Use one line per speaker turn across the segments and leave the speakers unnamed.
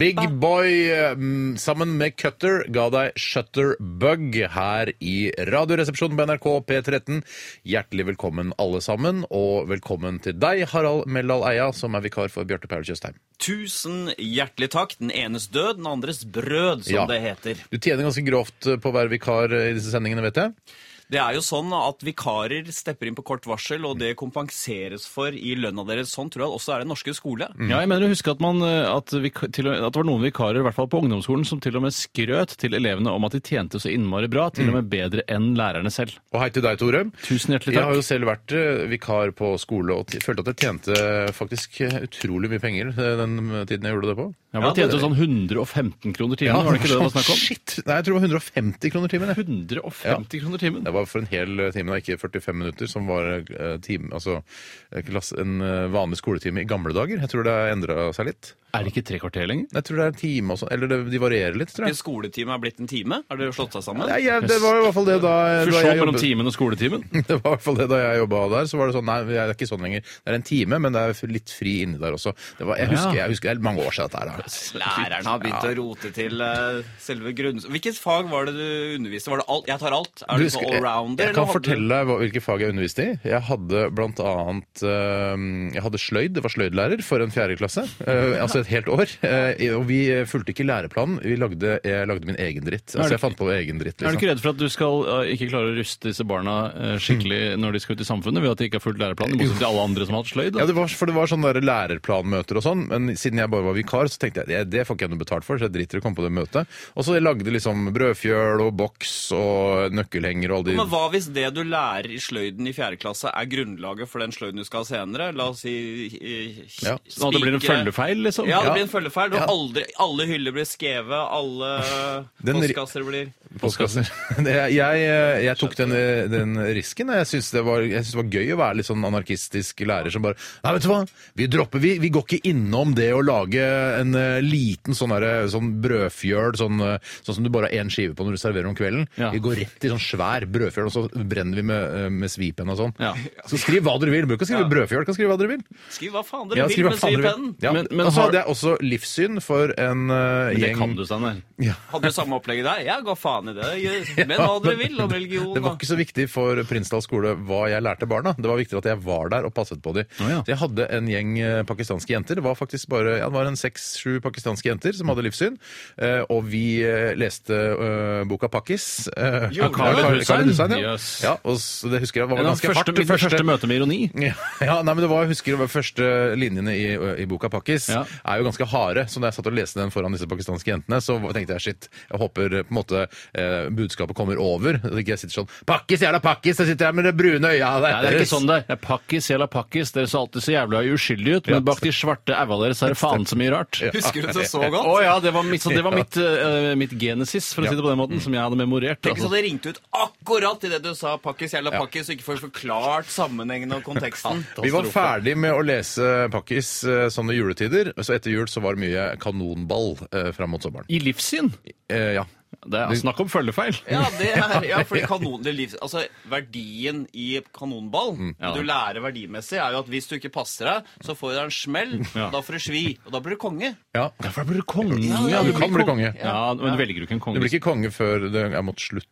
Big Boy eh, mm, sammen med Cutter ga deg Shutterbug her i Radioresepsjonen på NRK P13. Hjertelig velkommen alle sammen, og velkommen til deg, Harald Meldal Eia, som er vikar for Bjarte Paul Tjøstheim.
Tusen hjertelig takk. Den enes død, den andres brød, som
Ja.
det heter.
Du tjener ganske grovt eh, på å være vikar eh, i disse sendingene, vet jeg.
Det er jo sånn at vikarer stepper inn på kort varsel, og det kompenseres for i lønna deres. Sånn tror jeg også er den norske skole.
Mm.
Ja, jeg mener å huske at, man, eh, at, vi, til, og- at det var noen vikarer, i hvert fall på ungdomsskolen, som til og med skrøt til elevene om at de tjente så innmari bra, til og
Mm.
med bedre enn lærerne selv.
Og hei til deg, Tore.
Tusen hjertelig
Jeg har
takk.
jo selv vært eh, vikar på skole og t- følte at jeg tjente faktisk eh, utrolig mye penger eh, den eh, tiden jeg gjorde det på.
Ja, man
Ja,
tjente jo sånn 115 kroner timen, var det ikke det det var snakk om?
Shit! Nei, jeg tror det var 150 kroner timen. jeg.
150 kroner timen.
Det var for en hel eh, time, da, ikke 45 minutter, som var eh, time, altså, eh, klasse, en eh, vanlig skoletime i gamle dager. Jeg tror det har endra seg litt.
Er det ikke tre kvarter lenger?
Jeg tror det er en time og sånn, eller det, de varierer litt, tror
En
jeg.
skoletime er blitt en time. Har dere slått seg sammen?
Nei, jeg, det var i hvert fall det da, da
Fusjon
jeg
mellom
jobbet.
timen og skoletimen.
Det var i hvert fall det da jeg jobba der. så var det sånn, Nei, det er ikke sånn lenger. Det er en time, men det er litt fri inni der også. Det var, jeg,
Ja.
husker, jeg husker Det er mange år siden dette her. altså. da.
Læreren har begynt å rote til eh, selve grunn... Hvilket fag var det du underviste? Var det alt? Jeg tar alt. Er
Du
du
husker-
sånn
jeg,
allrounder?
jeg
eller
kan
hadde du-
fortelle deg hva, hvilke fag jeg underviste i. Jeg hadde blant annet eh, Jeg hadde sløyd. Det var sløydlærer for en fjerde klasse. eh, altså et helt år. Eh, og vi fulgte ikke læreplanen. Vi lagde, jeg lagde min egen dritt. Altså
du-
jeg fant på egen dritt.
Er du
Liksom.
ikke redd for at du skal eh, ikke klare å ruste disse barna eh, skikkelig
Mm.
når de skal ut i samfunnet, ved at de ikke har fulgt læreplanen, i motsetning til alle andre som har hatt sløyd?
Ja,
da?
det var, for det var sånne der lærerplanmøter og sånn, men siden jeg bare var vikar, så tenkte jeg det, det får ikke jeg noe betalt for, så jeg driter i å komme på det møtet. Og så jeg lagde liksom brødfjøl og boks og nøkkelhenger og alle de
Men hva hvis det du lærer i sløyden i fjerde klasse, er grunnlaget for den sløyden du skal ha senere? La oss si eh,
Ja.
Sånn at det blir en
spikre-
følgefeil, liksom?
Ja, det
Ja.
blir en følgefeil. Du har
Ja.
aldri, alle hyller blir skrevet, alle
Den ri-
postkasser blir
postkasser. Det, jeg, eh, jeg tok den, den risken. og Jeg syns det, var- jeg syns det var gøy å være litt sånn anarkistisk lærer som bare Nei, vet du hva, vi dropper Vi, vi går ikke innom det å lage en eh, liten sånn, derre- sånn brødfjøl, sånn, eh, sånn som du bare har én skive på når du serverer om kvelden.
Ja.
Vi går rett i sånn svær brødfjøl, og så brenner vi med, eh, med svipen og sånn.
Ja.
Så skriv hva dere vil. Du Bør ikke skrive brødfjøl, kan skrive hva dere vil.
Skriv hva faen dere
Ja,
vil
skriv hva
med
faen dere vil.
skrivepennen!
Ja.
Men- men
og så
har-
hadde jeg også livssyn for en eh,
Det
gjeng
kan du, Steinar.
Hadde du samme opplegget der? Jeg ga faen i det. Jeg- Men hva dere vil om religion.
Det
da.
var ikke så viktig for Prinsdal skole hva jeg lærte barna. Det var viktig at jeg var der og passet på dem.
Å, ja.
Så jeg hadde en gjeng eh, pakistanske jenter. Det var faktisk bare ja, det var en seks-sju pakistanske jenter som hadde livssyn. Eh, og vi eh, leste eh, boka Pakkis. Eh,
Jo,
av
Khaled
Khaled
Hussein.
Hussein, ja.
Yes.
ja og s- det husker jeg var
En av
ganske
første,
hardt.
mitt første møte med ironi.
Ja, ja, nei, men det var, jeg husker det var første linjene i, i boka Pakkis
Ja.
er jo ganske harde. Så da jeg satt og leste den foran disse pakistanske jentene, så tenkte jeg shit, jeg håper eh, på en måte eh, budskapet kommer over. Så ikke jeg sitter sånn Pakkis, jævla Pakkis! Jeg sitter her med det brune øya
Nei, det er ikke sånn det er. Pakkis, jævla pakkis, dere så alltid så jævla uskyldige ut, men bak de svarte aua deres er det faen så mye rart. Å
Husker du det så godt?
ja, det var mitt, så det var mitt, eh, mitt genesis, for å si det på den måten, som jeg hadde memorert.
Tenk så
Altså.
det ringte ut akkurat idet du sa 'pakkis jævla pakkis', og ikke får forklart sammenhengen og konteksten.
Vi var ferdig med å lese Pakkis eh, sånne juletider, så etter jul så var det mye kanonball eh, fram mot sommeren.
I livssyn?
Eh, ja.
Det er snakk om følgefeil.
Ja, det er, ja fordi kanon, det livs, altså, verdien i kanonball
Mm.
Ja.
du lærer verdimessig, er jo at hvis du ikke passer deg, så får du deg en smell,
Ja.
da får du svi, og da blir du konge.
ja.
Ja, for da blir du konge.
Ja, du kan bli konge.
Ja, men velger du ikke en
Du
konge?
blir ikke konge før det er mot slutt.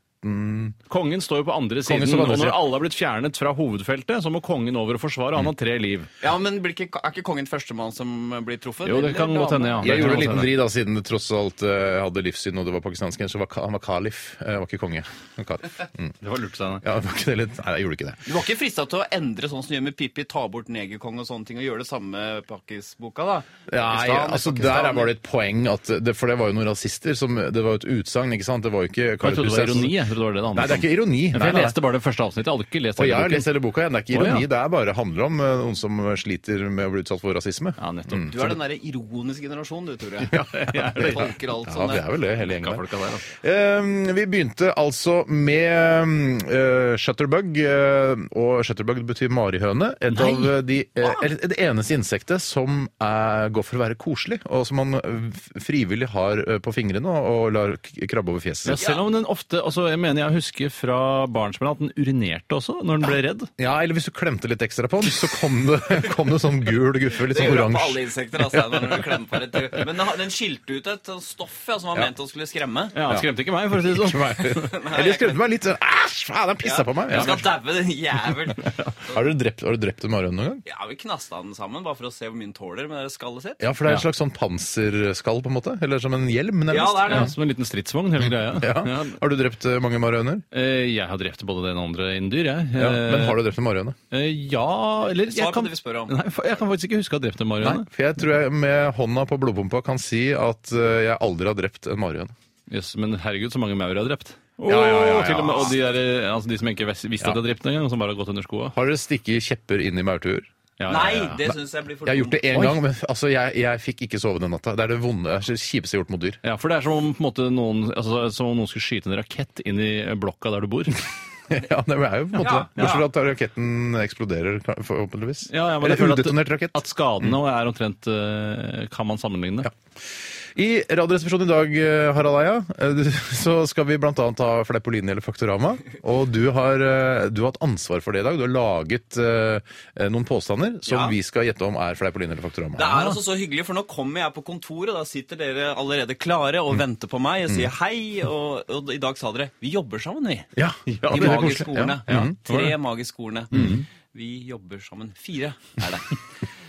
Kongen står jo på andre siden,
står på andre
og når
siden.
alle har blitt fjernet fra hovedfeltet, så må kongen over og forsvare, og han har tre liv.
Ja, men blir ikke, Er ikke kongen førstemann som blir truffet?
Jo, det kan
Eller
godt hende, ja.
dame?
Det
Jeg
kan
gjorde en
godt
liten
hende.
vri da, siden det tross alt eh, hadde livssyn og det var pakistansk jente, så var, ka- han var kalif, eh, var ikke konge. Han var Kalif. Mm.
Det var lurt, Steinar.
Ja, var ikke det litt? Nei, jeg gjorde ikke det.
Du var ikke frista til å endre sånn som du gjør med Pippi, ta bort negerkong og sånne ting, og gjøre det samme med pakkisboka, da?
Nei,
Pakistan,
altså
Pakistan.
Der var det et poeng, at det, for det var jo noen rasister. Som, det var jo et utsagn, ikke sant? Det var jo ikke
Jeg trodde det var ironi, jeg. Jeg trodde det var det det handlet
Nei, det er ikke ironi.
om. For
Nei,
jeg
nei, nei.
leste bare det første avsnittet. Jeg hadde ikke lest
Og
hele
jeg har
boken.
lest hele boka. igjen. Det er ikke
Å, ja.
ironi, det er bare handler om eh, noen som sliter med å bli utsatt for rasisme.
Ja, nettopp.
Du er den derre ironiske generasjonen, du, Tore. Ja, Tolker alt
Ja,
sånn.
vi er vel det, hele
Hva
gjengen der.
folka der, altså.
Eh, vi begynte altså med eh, Shutterbug, eh, og Shutterbug betyr marihøne. Et av eh, de, eh,
Ah.
eller det eneste insektet som er, går for å være koselig, og som man eh, f- frivillig har eh, på fingrene og, og lar k- krabbe over fjeset
Ja,
sitt.
selv om den ofte altså Jeg mener jeg husker fra barnsben at den urinerte også når den ble redd.
Ja, eller hvis du klemte litt ekstra på den, så kom det, kom det sånn gul guffe, litt
Det
sånn
gjør jeg på
oransje.
alle insekter. Altså, når du klemmer på det. Men den, den skilte ut et stoff ja, som var ment å skulle skremme.
Ja, Den skremte ikke meg, for å si det sånn.
Eller skremte meg litt sånn Æsj, faen, den pissa på meg!
Du
Ja.
skal daue, den jævel.
Har du drept, har du drept en marihøne noen gang?
Ja, vi knasta den sammen bare for å se hvor mye den tåler med det skallet sitt.
Ja, for det er et slags sånn panserskall, på en måte? Eller som en hjelm, nærmest?
Ja, det er det.
Ja, som en liten stridsvogn, hele greia.
Ja.
Ja.
Har du drept eh, mange marihøner?
Eh, Jeg har drept både det ene og andre inndyr, jeg.
Ja. Men har du drept en marihøne?
Eh, Ja, eller
Svar på det vi spør om.
Nei, for- jeg kan faktisk ikke huske å ha drept en
Nei,
marihøne.
for jeg tror jeg med hånda på blodpumpa kan si at eh, jeg aldri har drept en marihøne.
Jøss, men herregud, så mange maur jeg har drept.
Ja, ja, ja, ja.
Åh, Til og, med, og de, der, eh, altså de som ikke vis- visste at jeg hadde drept den engang, og som bare har gått under skoa.
Har dere stikket kjepper inn i maurtuer?
Ja, ja,
Nei,
ja, ja.
det syns jeg blir for
Jeg har gjort det én
Oi.
gang, men altså, jeg, jeg fikk ikke sove den natta. Det er det vonde, det kjipeste jeg har gjort mot dyr.
Ja, for det er som om på en måte, noen, altså, som om noen skulle skyte en rakett inn i blokka der du bor.
ja, det er jo på en måte
Ja,
det. Bortsett
ja.
fra at raketten eksploderer, forhåpentligvis.
Ja, ja, men jeg
Eller
føler at-
udetonert rakett. Mm.
At skadene nå er omtrent eh, Kan man sammenligne?
Ja. I Radioresepsjonen i dag, eh, Harald Eia, eh, du- så skal vi bl.a. ta Fleipolini eller Faktorama. Og du har, eh, du har hatt ansvar for det i dag. Du har laget eh, noen påstander som
Ja.
vi skal gjette om er Fleipolini eller Faktorama.
Det er altså så hyggelig, for nå kommer jeg på kontoret, da sitter dere allerede klare og venter på meg. Jeg sier hei, og, og i dag sa dere 'vi jobber sammen', vi.
ja,
De
ja, det er
magiske
koselig.
ordene.
Ja.
Ja,
Mhm.
Tre magiske ordene. Vi jobber sammen. Fire er det.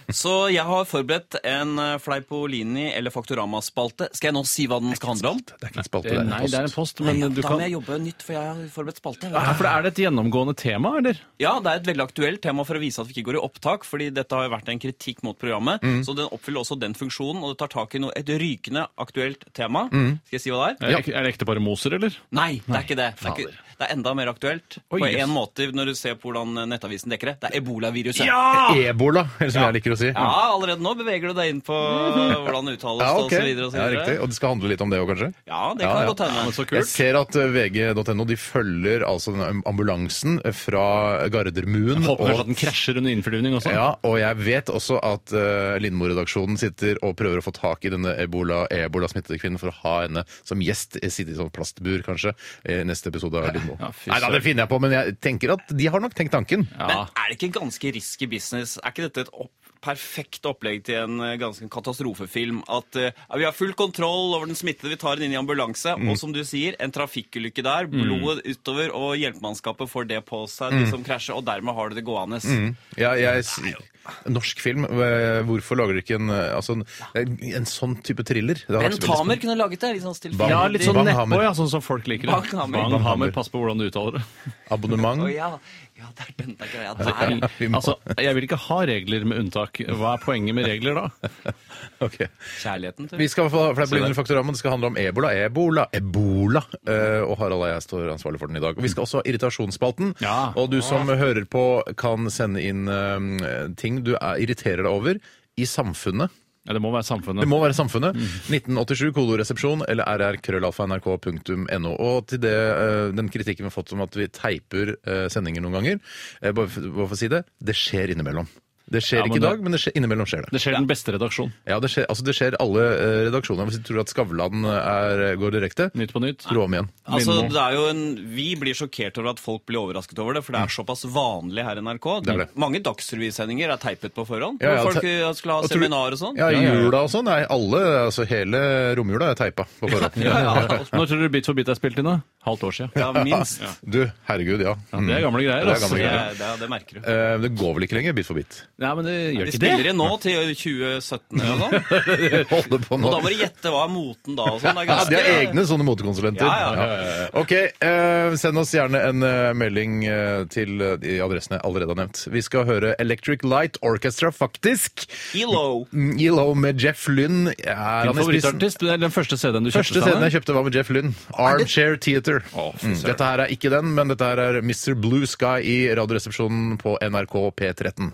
Så jeg har forberedt en eh, Fleipolini eller Faktorama-spalte. Skal jeg nå si hva den skal handle om?
Det er ikke en spalte, det
Eh,
er en
Nei,
post.
det er en post, men du
Da
kan
må jeg jobbe nytt, for jeg har forberedt spalte.
ja, for Er det et gjennomgående tema, eller?
Ja, det er et veldig aktuelt tema for å vise at vi ikke går i opptak, fordi dette har jo vært en kritikk mot programmet.
Mm.
Så den oppfyller også den funksjonen, og det tar tak i noe, et rykende aktuelt tema.
Mm.
Skal jeg si hva det er?
Er det- Er det ekteparet Moser, eller?
Eh,
Nei, det er ikke det. Det er, ikke, det er enda mer aktuelt på
Oi, jøss.
en måte når du ser på hvordan nettavisen dekker det. Det er ebolaviruset.
Ebola, eller som jeg liker å si.
Ja, allerede nå beveger du deg inn på hvordan det uttales
Mm-hmm. Ja,
og
ok.
så videre. Og så
Ja,
videre.
riktig. Og det skal handle litt om det òg, kanskje?
Ja, det kan
Ja, ja.
godt hende.
Men så
Jeg
kult.
ser at eh, vg.no de følger altså den ambulansen fra Gardermoen.
Håper
og-
kanskje at den krasjer under innflyvning også.
Ja, og jeg vet også at uh, Lindmo-redaksjonen sitter og prøver å få tak i denne ebola- ebola-smittede kvinnen for å ha henne som gjest. eh, Sitte i sånn plastbur, kanskje, i neste episode av Lindmo.
Ja, fy
Nei da, det finner jeg på, men jeg tenker at de har nok tenkt tanken.
Men er det ikke ganske risky business? Er ikke dette et opp, perfekt opplegg til en eh, ganske katastrofefilm? At eh, vi har full kontroll over den smittede, vi tar den inn i ambulanse,
Mm.
og som du sier, en trafikkulykke der, blodet utover, og hjelpemannskapet får det på seg,
Mm.
de som krasjer, og dermed har du det gående.
Ja, jeg, s- norsk film, eh, hvorfor lager dere ikke en, eh, altså, en, en sånn type thriller? Det hadde vært
Ben
så veldig
Tamer kunne laget det. litt sånn stillferdig.
Ja, litt sånn
Bang Hammer.
nedpå, ja, sånn som folk liker det.
Bang Hammer.
Bang Hammer, Pass på hvordan du uttaler det.
spennende. Abonnement?
Å, ja. ja, det er den der greia der.
Ja, vi må-
Altså, Jeg vil ikke ha regler med unntak. Hva er poenget med regler da?
Ok.
Kjærligheten til
Vi skal i hvert fall ha for det blir under Faktorama, det skal handle om ebola, ebola, ebola. Eh, og Harald og jeg står ansvarlig for den i dag. Og vi skal også ha irritasjonsspalten.
Ja.
Og du som hører på, kan sende inn eh, ting du er, irriterer deg over i samfunnet.
Ja, det må være samfunnet.
Det må være samfunnet. 1987, kodoresepsjon eller rrkrøllalfa.nrk.no. Og til det, eh, den kritikken vi har fått om at vi teiper eh, sendinger noen ganger, eh, bare for bare for å si det, det skjer innimellom. Det skjer
Ja, men
ikke i
det-
dag, men det skjer, innimellom skjer det.
Det skjer den beste redaksjon.
Ja, det skjer, altså det skjer alle eh, redaksjoner. Hvis du tror at Skavlan eh, er, går direkte,
Nytt på nytt.
tro om igjen.
Altså,
Lindmo.
det er jo en, vi blir sjokkert over at folk blir overrasket over det, for det er såpass vanlig her i NRK.
Mm. Det er det.
Mange dagsrevysendinger er teipet på forhånd.
Ja, ja,
Folk
te-
eh, skulle ha
Og tror du-
seminar og sånn.
Ja, i
Ja, ja, ja.
jula og sånn. Nei, alle, altså hele romjula er teipa på forhånd.
Ja, ja, ja. Når tror du Bit for bit er spilt inn? da? Halvt år siden.
Ja, minst.
Du, herregud, ja.
det er gamle greier,
Mm. Det er
altså.
gamle
Det,
greier.
det, det merker du.
Eh, Det går vel ikke lenger, bit for bit?
Nei, men det
De
gjør ikke det.
spiller inn nå til 2017 eller noe sånt.
Holder på
Og
nå.
da må du gjette hva er moten da og sånn. Det er
Ja, de har
ganske-
egne sånne motekonsulenter.
Ja, ja,
Ok, eh, send oss gjerne en eh, melding eh, til eh, de adressene jeg allerede har nevnt. Vi skal høre Electric Light Orchestra, faktisk.
ELO.
Mm, ELO med Jeff Lynn. Er han i
Din
spissen?
favorittartist? Det er den første CD-en du kjøpte?
Første scenen
Steinar.
jeg kjøpte var med Jeff Lynn. Armchair Theater. mm. Dette her er ikke den, men dette her er Mr. Blue Sky i Radioresepsjonen på NRK P13.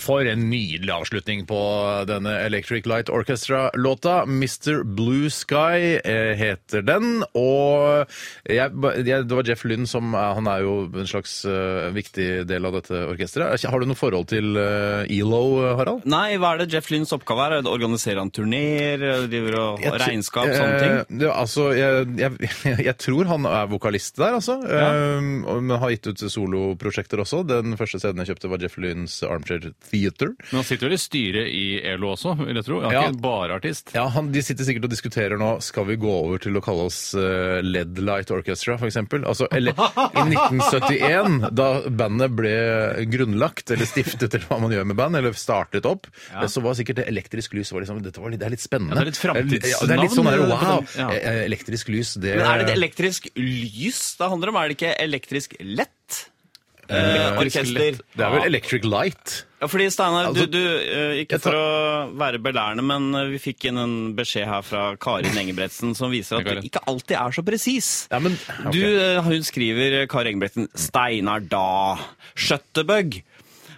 For en nydelig avslutning på denne Electric Light Orchestra-låta. Mr. Blue Sky eh, heter den. Og jeg, ba- jeg, det var Jeff Lynn som er- Han er jo en slags eh, viktig del av dette orkesteret. Har du noe forhold til eh, ELO, Harald?
Nei, hva er det Jeff Lynns oppgave er? Organiserer han turneer, driver og
Jeg tr-
regnskap, sånne ting?
Eh, det, altså, jeg, jeg, jeg tror han er vokalist der, altså. Eh, og- men har gitt ut soloprosjekter også. Den første CD-en jeg kjøpte, var Jeff Lynns Armchair Theater.
Men han sitter vel i styret i ELO også, vil jeg tro. Han er
Ja.
ikke bare artist.
Ja, han, De sitter sikkert og diskuterer nå skal vi gå over til å kalle oss eh, Led Light Orchestra, f.eks. Altså, eller i 1971, da bandet ble grunnlagt, eller stiftet, eller hva man gjør med band, eller startet opp, eh, så var sikkert det elektrisk lys var liksom, dette var, litt- Det er litt spennende.
Ja, det er litt
Ja, det er litt
fremtidsnavn,
sånn der,
eller-
wow!
Ja.
eh, eh, Elektrisk lys, det
Men er det et elektrisk lys det handler om? Er det ikke elektrisk lett? Eh, orkester.
Det er vel Electric Light.
Ja, fordi Steinar,
Altså,
du, du, eh, ikke
jeg tar-
for å være belærende, men eh, vi fikk inn en beskjed her fra Karin Engebretsen som viser at
Karin.
du ikke alltid er så presis.
Ja, men, ok. Mm.
Du, eh, hun skriver, eh, Karin Engebretsen, Steinar da, skjøttebøgg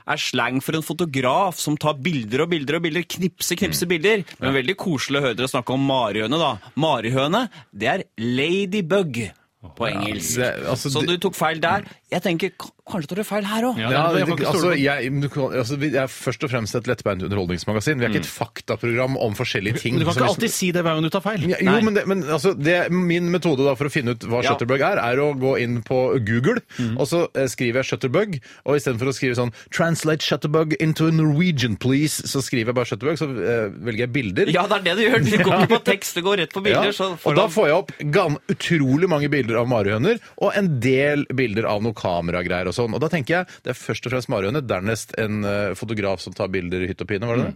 er slang for en fotograf som tar bilder og bilder og bilder, knipse,
Mm.
knipse bilder. Men veldig koselig å høre dere snakke om marihøne, da. Marihøne, det er ladybug på engelsk.
det- altså,
Så
det-
du tok feil der. Jeg tenker, k- kanskje tar du feil her òg.
Ja,
Ja,
det-
det,
jeg kan ikke
altså,
stole på-
jeg, men du kan- altså, vi er først og fremst et lettbeint underholdningsmagasin. Vi er ikke et faktaprogram om forskjellige ting.
Men Mm. du kan
som liksom-
ikke
vi-
alltid si det hver gang du tar feil.
ja, jo, men, det, men altså, det, min metode da for å finne ut hva
Ja. Mhm.
Shutterbug er, er å gå inn på Google, og så eh, skriver jeg Shutterbug, og istedenfor å skrive sånn 'Translate Shutterbug into Norwegian, please', så skriver jeg bare Shutterbug, så eh, velger jeg bilder.
Ja, det er det du gjør. Du går ikke på tekst, du går rett på bilder.
Ja,
Så
og
får
da
han-
får jeg opp gan utrolig mange bilder av marihøner, og en del bilder av noe kameragreier og sånn. Og da tenker jeg det er først og fremst marihøner, dernest en eh, fotograf som tar bilder i hytt og pine, var det det?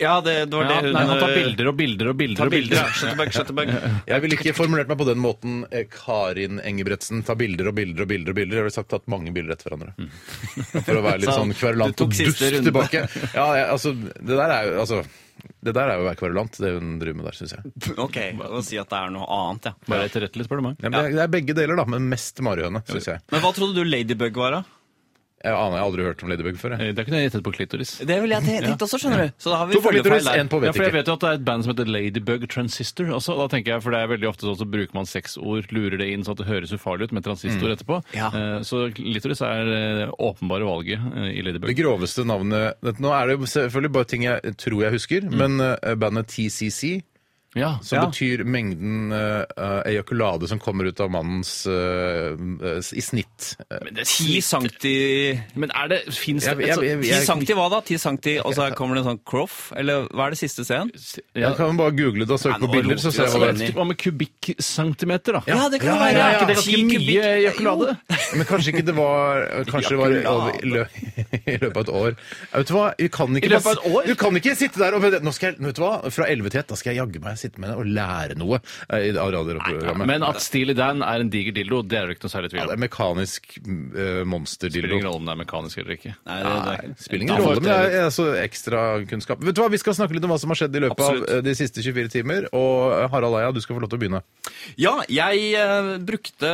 Ja, det, det var
Ja,
det hun
nei, han tar
eh,
bilder og bilder og bilder.
tar
og
bilder, ja. Shutterbug,
bilder.
shutterbug.
Jeg ville ikke formulert meg på den måten eh, Karin Engebretsen tar bilder og bilder og bilder og bilder. Jeg ville sagt tatt mange bilder etter hverandre. For å være litt
Så
sånn
Mm.
kverulant
du tok
og dust
siste runde.
tilbake. Ja, jeg, altså, det der er jo altså, det der er jo å være kverulant, det hun driver med der, syns jeg.
Ok, og si at det er noe annet, ja.
Bare etterrettelig, spør du meg.
Ja, men det, er, det er begge deler, da, men mest marihøne, syns jeg.
Men hva trodde du Ladybug var, da?
Jeg aner jeg har aldri hørt om Ladybug før. jeg.
Eh, Det er ikke noe jeg gjettet på klitoris.
Det ville jeg tenkt også, skjønner du. Så da har vi
To på klitoris,
følgefeil
en på
Ja,
vet
for jeg
ikke.
vet jo at det er et band som heter Ladybug Transistor også. Da tenker jeg, for det er veldig ofte sånn så bruker man sexord, lurer det inn sånn at det høres ufarlig ut med transistor
Mm.
etterpå.
Ja.
Eh, Så klitoris er eh, åpenbare valget eh, i
Det
Ladybug.
groveste navnet dette- Nå er det jo selvfølgelig bare ting jeg tror jeg husker,
Mm.
men eh, bandet TCC,
Ja,
som
ja.
betyr mengden eh, eh, ejakulade som kommer ut av mannens eh, eh, i snitt. Eh,
Men det er
Ti sankti...
Men er det, finnes det
Jeg- jeg- jeg-
Ti sankti hva da? Ti sankti, og så kommer det en sånn croff? Eller hva er det siste scenen?
ja,
Jeg kan bare google det og søke
Nei, nå
på bilder, så
roter
ser
jeg
jeg hva
sånn
det er.
inn i-
Hva med kubikkcentimeter, da?
Ja, det kan
Ja,
det være.
ja, ja.
Er ikke det ganske mye ejakulade?
Men kanskje ikke det var Kanskje det var over, i, lø i løpet av et år. Ja, vet du hva? Du kan ikke,
I løpet av et år?
Du kan ikke sitte der og nå skal jeg, Vet du hva? Fra 11 til 1, da skal jeg jaggu meg sitte med deg og lære noe eh, i- av radioprogrammet.
Men at Steely Dan er en diger dildo, det er det ikke noe særlig
Ja,
tvil
det
om.
er mekanisk uh,
Spiller ingen
monsterdildo.
rolle om det er mekanisk eller ikke.
Nei, det, det. er-
Spiller ingen
Ja,
rolle,
det
men det
er
er altså ekstrakunnskap. Vet du hva, vi skal snakke litt om hva som har skjedd i løpet
Absolutt.
av eh, de siste 24 timer. Og eh, Harald Eia, du skal få lov til å begynne.
Ja, jeg eh, brukte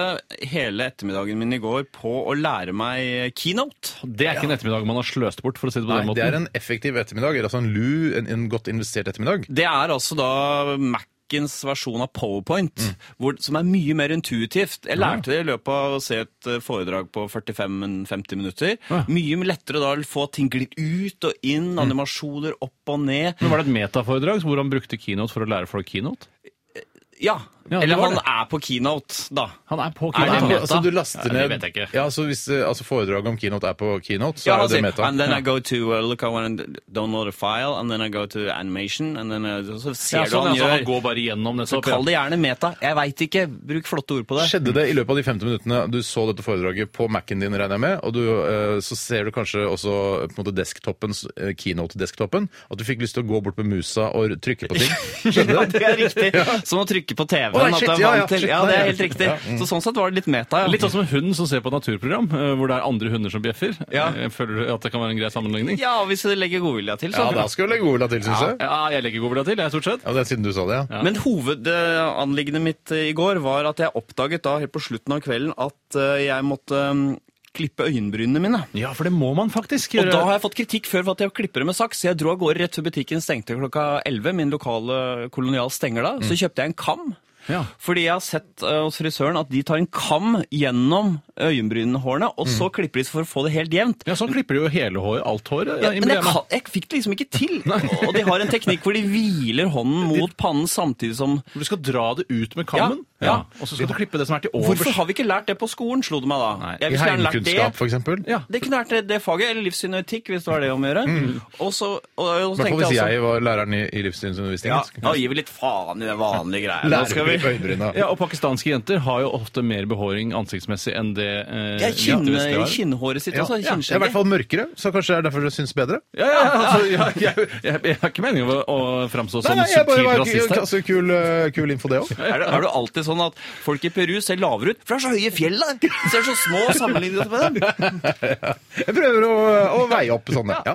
hele ettermiddagen min i går på å lære meg keynote.
Det er ikke en ettermiddag man har sløst bort, for å si det på
Nei,
den
det er
måten.
en effektiv ettermiddag. eller Altså en lu, en, en godt investert ettermiddag.
Det er altså da Mac-ens versjon av PowerPoint, hvor, som er mye mer intuitivt. Jeg lærte det i løpet av å se et eh, foredrag på 45-50 minutter.
Ja. Mm.
Mye lettere da å få ting glidd ut og inn, animasjoner opp og ned.
Men Var det et metaforedrag hvor han brukte keynote for å lære folk keynote?
Ja,
Ja, det
Eller
var
han
det.
er på keynote, da.
Han er på
Er det
Nei, men
meta?
altså, du laster
Ja, det
ned
vet jeg ikke.
Ja, så hvis eh, altså, foredraget om keynote er på keynote, så
Ja, altså, han
er jo det
sier,
meta.
and then
Ja.
I go to uh, look I want to download a file, and then I go to animation, and then uh, så ser
Ja,
du
sånn,
han
ja, så han
gjør.
går bare
Så
gjennom nettopp.
kall det gjerne meta. Jeg veit ikke. Bruk flotte ord på det.
Skjedde det i løpet av de 50 minuttene du så dette foredraget på Mac-en din, regner jeg med, og du, eh, så ser du kanskje også eh, på en måte desktoppens, eh, keynote-desktoppen, at du fikk lyst til å gå bort med musa og trykke på ting? Skjedde det?
Det er riktig. Som å trykke på TV-en.
Å, nei,
at
shit,
det er
ja,
vant
ja,
til-
shit,
ja, det
nei,
er
ja. Mm.
helt riktig.
Ja,
Så sånn sett var det litt meta. Ja.
Litt sånn som en hund som ser på et naturprogram eh, hvor det er andre hunder som bjeffer.
Ja.
Eh, Føler du at det kan være en grei sammenligning?
ja, hvis du legger godvilja til, så.
Ja, da skal du legge godvilja til, syns jeg.
Ja, jeg legger godvilja til, jeg, stort sett.
Ja, det er siden du sa det, ja.
Men hovedanliggendet mitt eh, i går var at jeg oppdaget da helt på slutten av kvelden at eh, jeg måtte mm, klippe øyenbrynene mine.
Ja, for det må man faktisk
Og
gjøre.
da har jeg fått kritikk før for at jeg klipper det med saks. så Jeg dro av gårde rett før butikken stengte klokka 11. Min lokale kolonial stenger da. Så kjøpte jeg en kam.
Ja.
Fordi jeg har sett eh, hos frisøren at de tar en kam gjennom øyenbrynhårene, og så klipper de så for å få det helt jevnt.
Ja, sånn klipper de jo hele håret, alt håret.
Ja,
i
men jeg,
miljøet.
kan, jeg fikk det liksom ikke til. Og de har en teknikk hvor de hviler hånden mot pannen samtidig som
Du skal dra det ut med kammen,
Ja, ja.
og så skal du klippe det som er til overs.
Hvorfor har vi ikke lært det på skolen, slo det meg da.
Nei.
Jeg
I
ville gjerne lært det.
heimkunnskap, for eksempel.
Ja.
Det kunne vært det, det faget, eller livssyn og etikk, hvis det var det om å gjøre. Og så, og, og så
I hvert fall
tenkte
hvis
jeg altså
jeg var læreren i, i livssynsundervisning.
ja,
så-
Da gir vi litt faen i det vanlige greia. Nå
Lærer
skal
å klippe
vi
øyenbryna.
Ja, og pakistanske jenter har jo ofte mer behåring ansiktsmessig enn det eh,
ja,
jenter
kinne,
vestlige har.
Kinnhåret sitt,
Ja,
altså.
ja. Det er i hvert
Kinnskjegget.
fall mørkere, så kanskje det er derfor det syns bedre.
Ja, ja, ja, altså, jeg, jeg, jeg, jeg har ikke meningen å, å framstå som
jeg bare
Sånn subtil
var
rasist her.
altså, kul, eh, kul info, det òg.
Er det, er det alltid sånn at folk i Peru ser lavere ut? For det er så høye fjell der! De ser så små sammenlignet med dem.
Jeg prøver å, å veie opp sånne. Ja.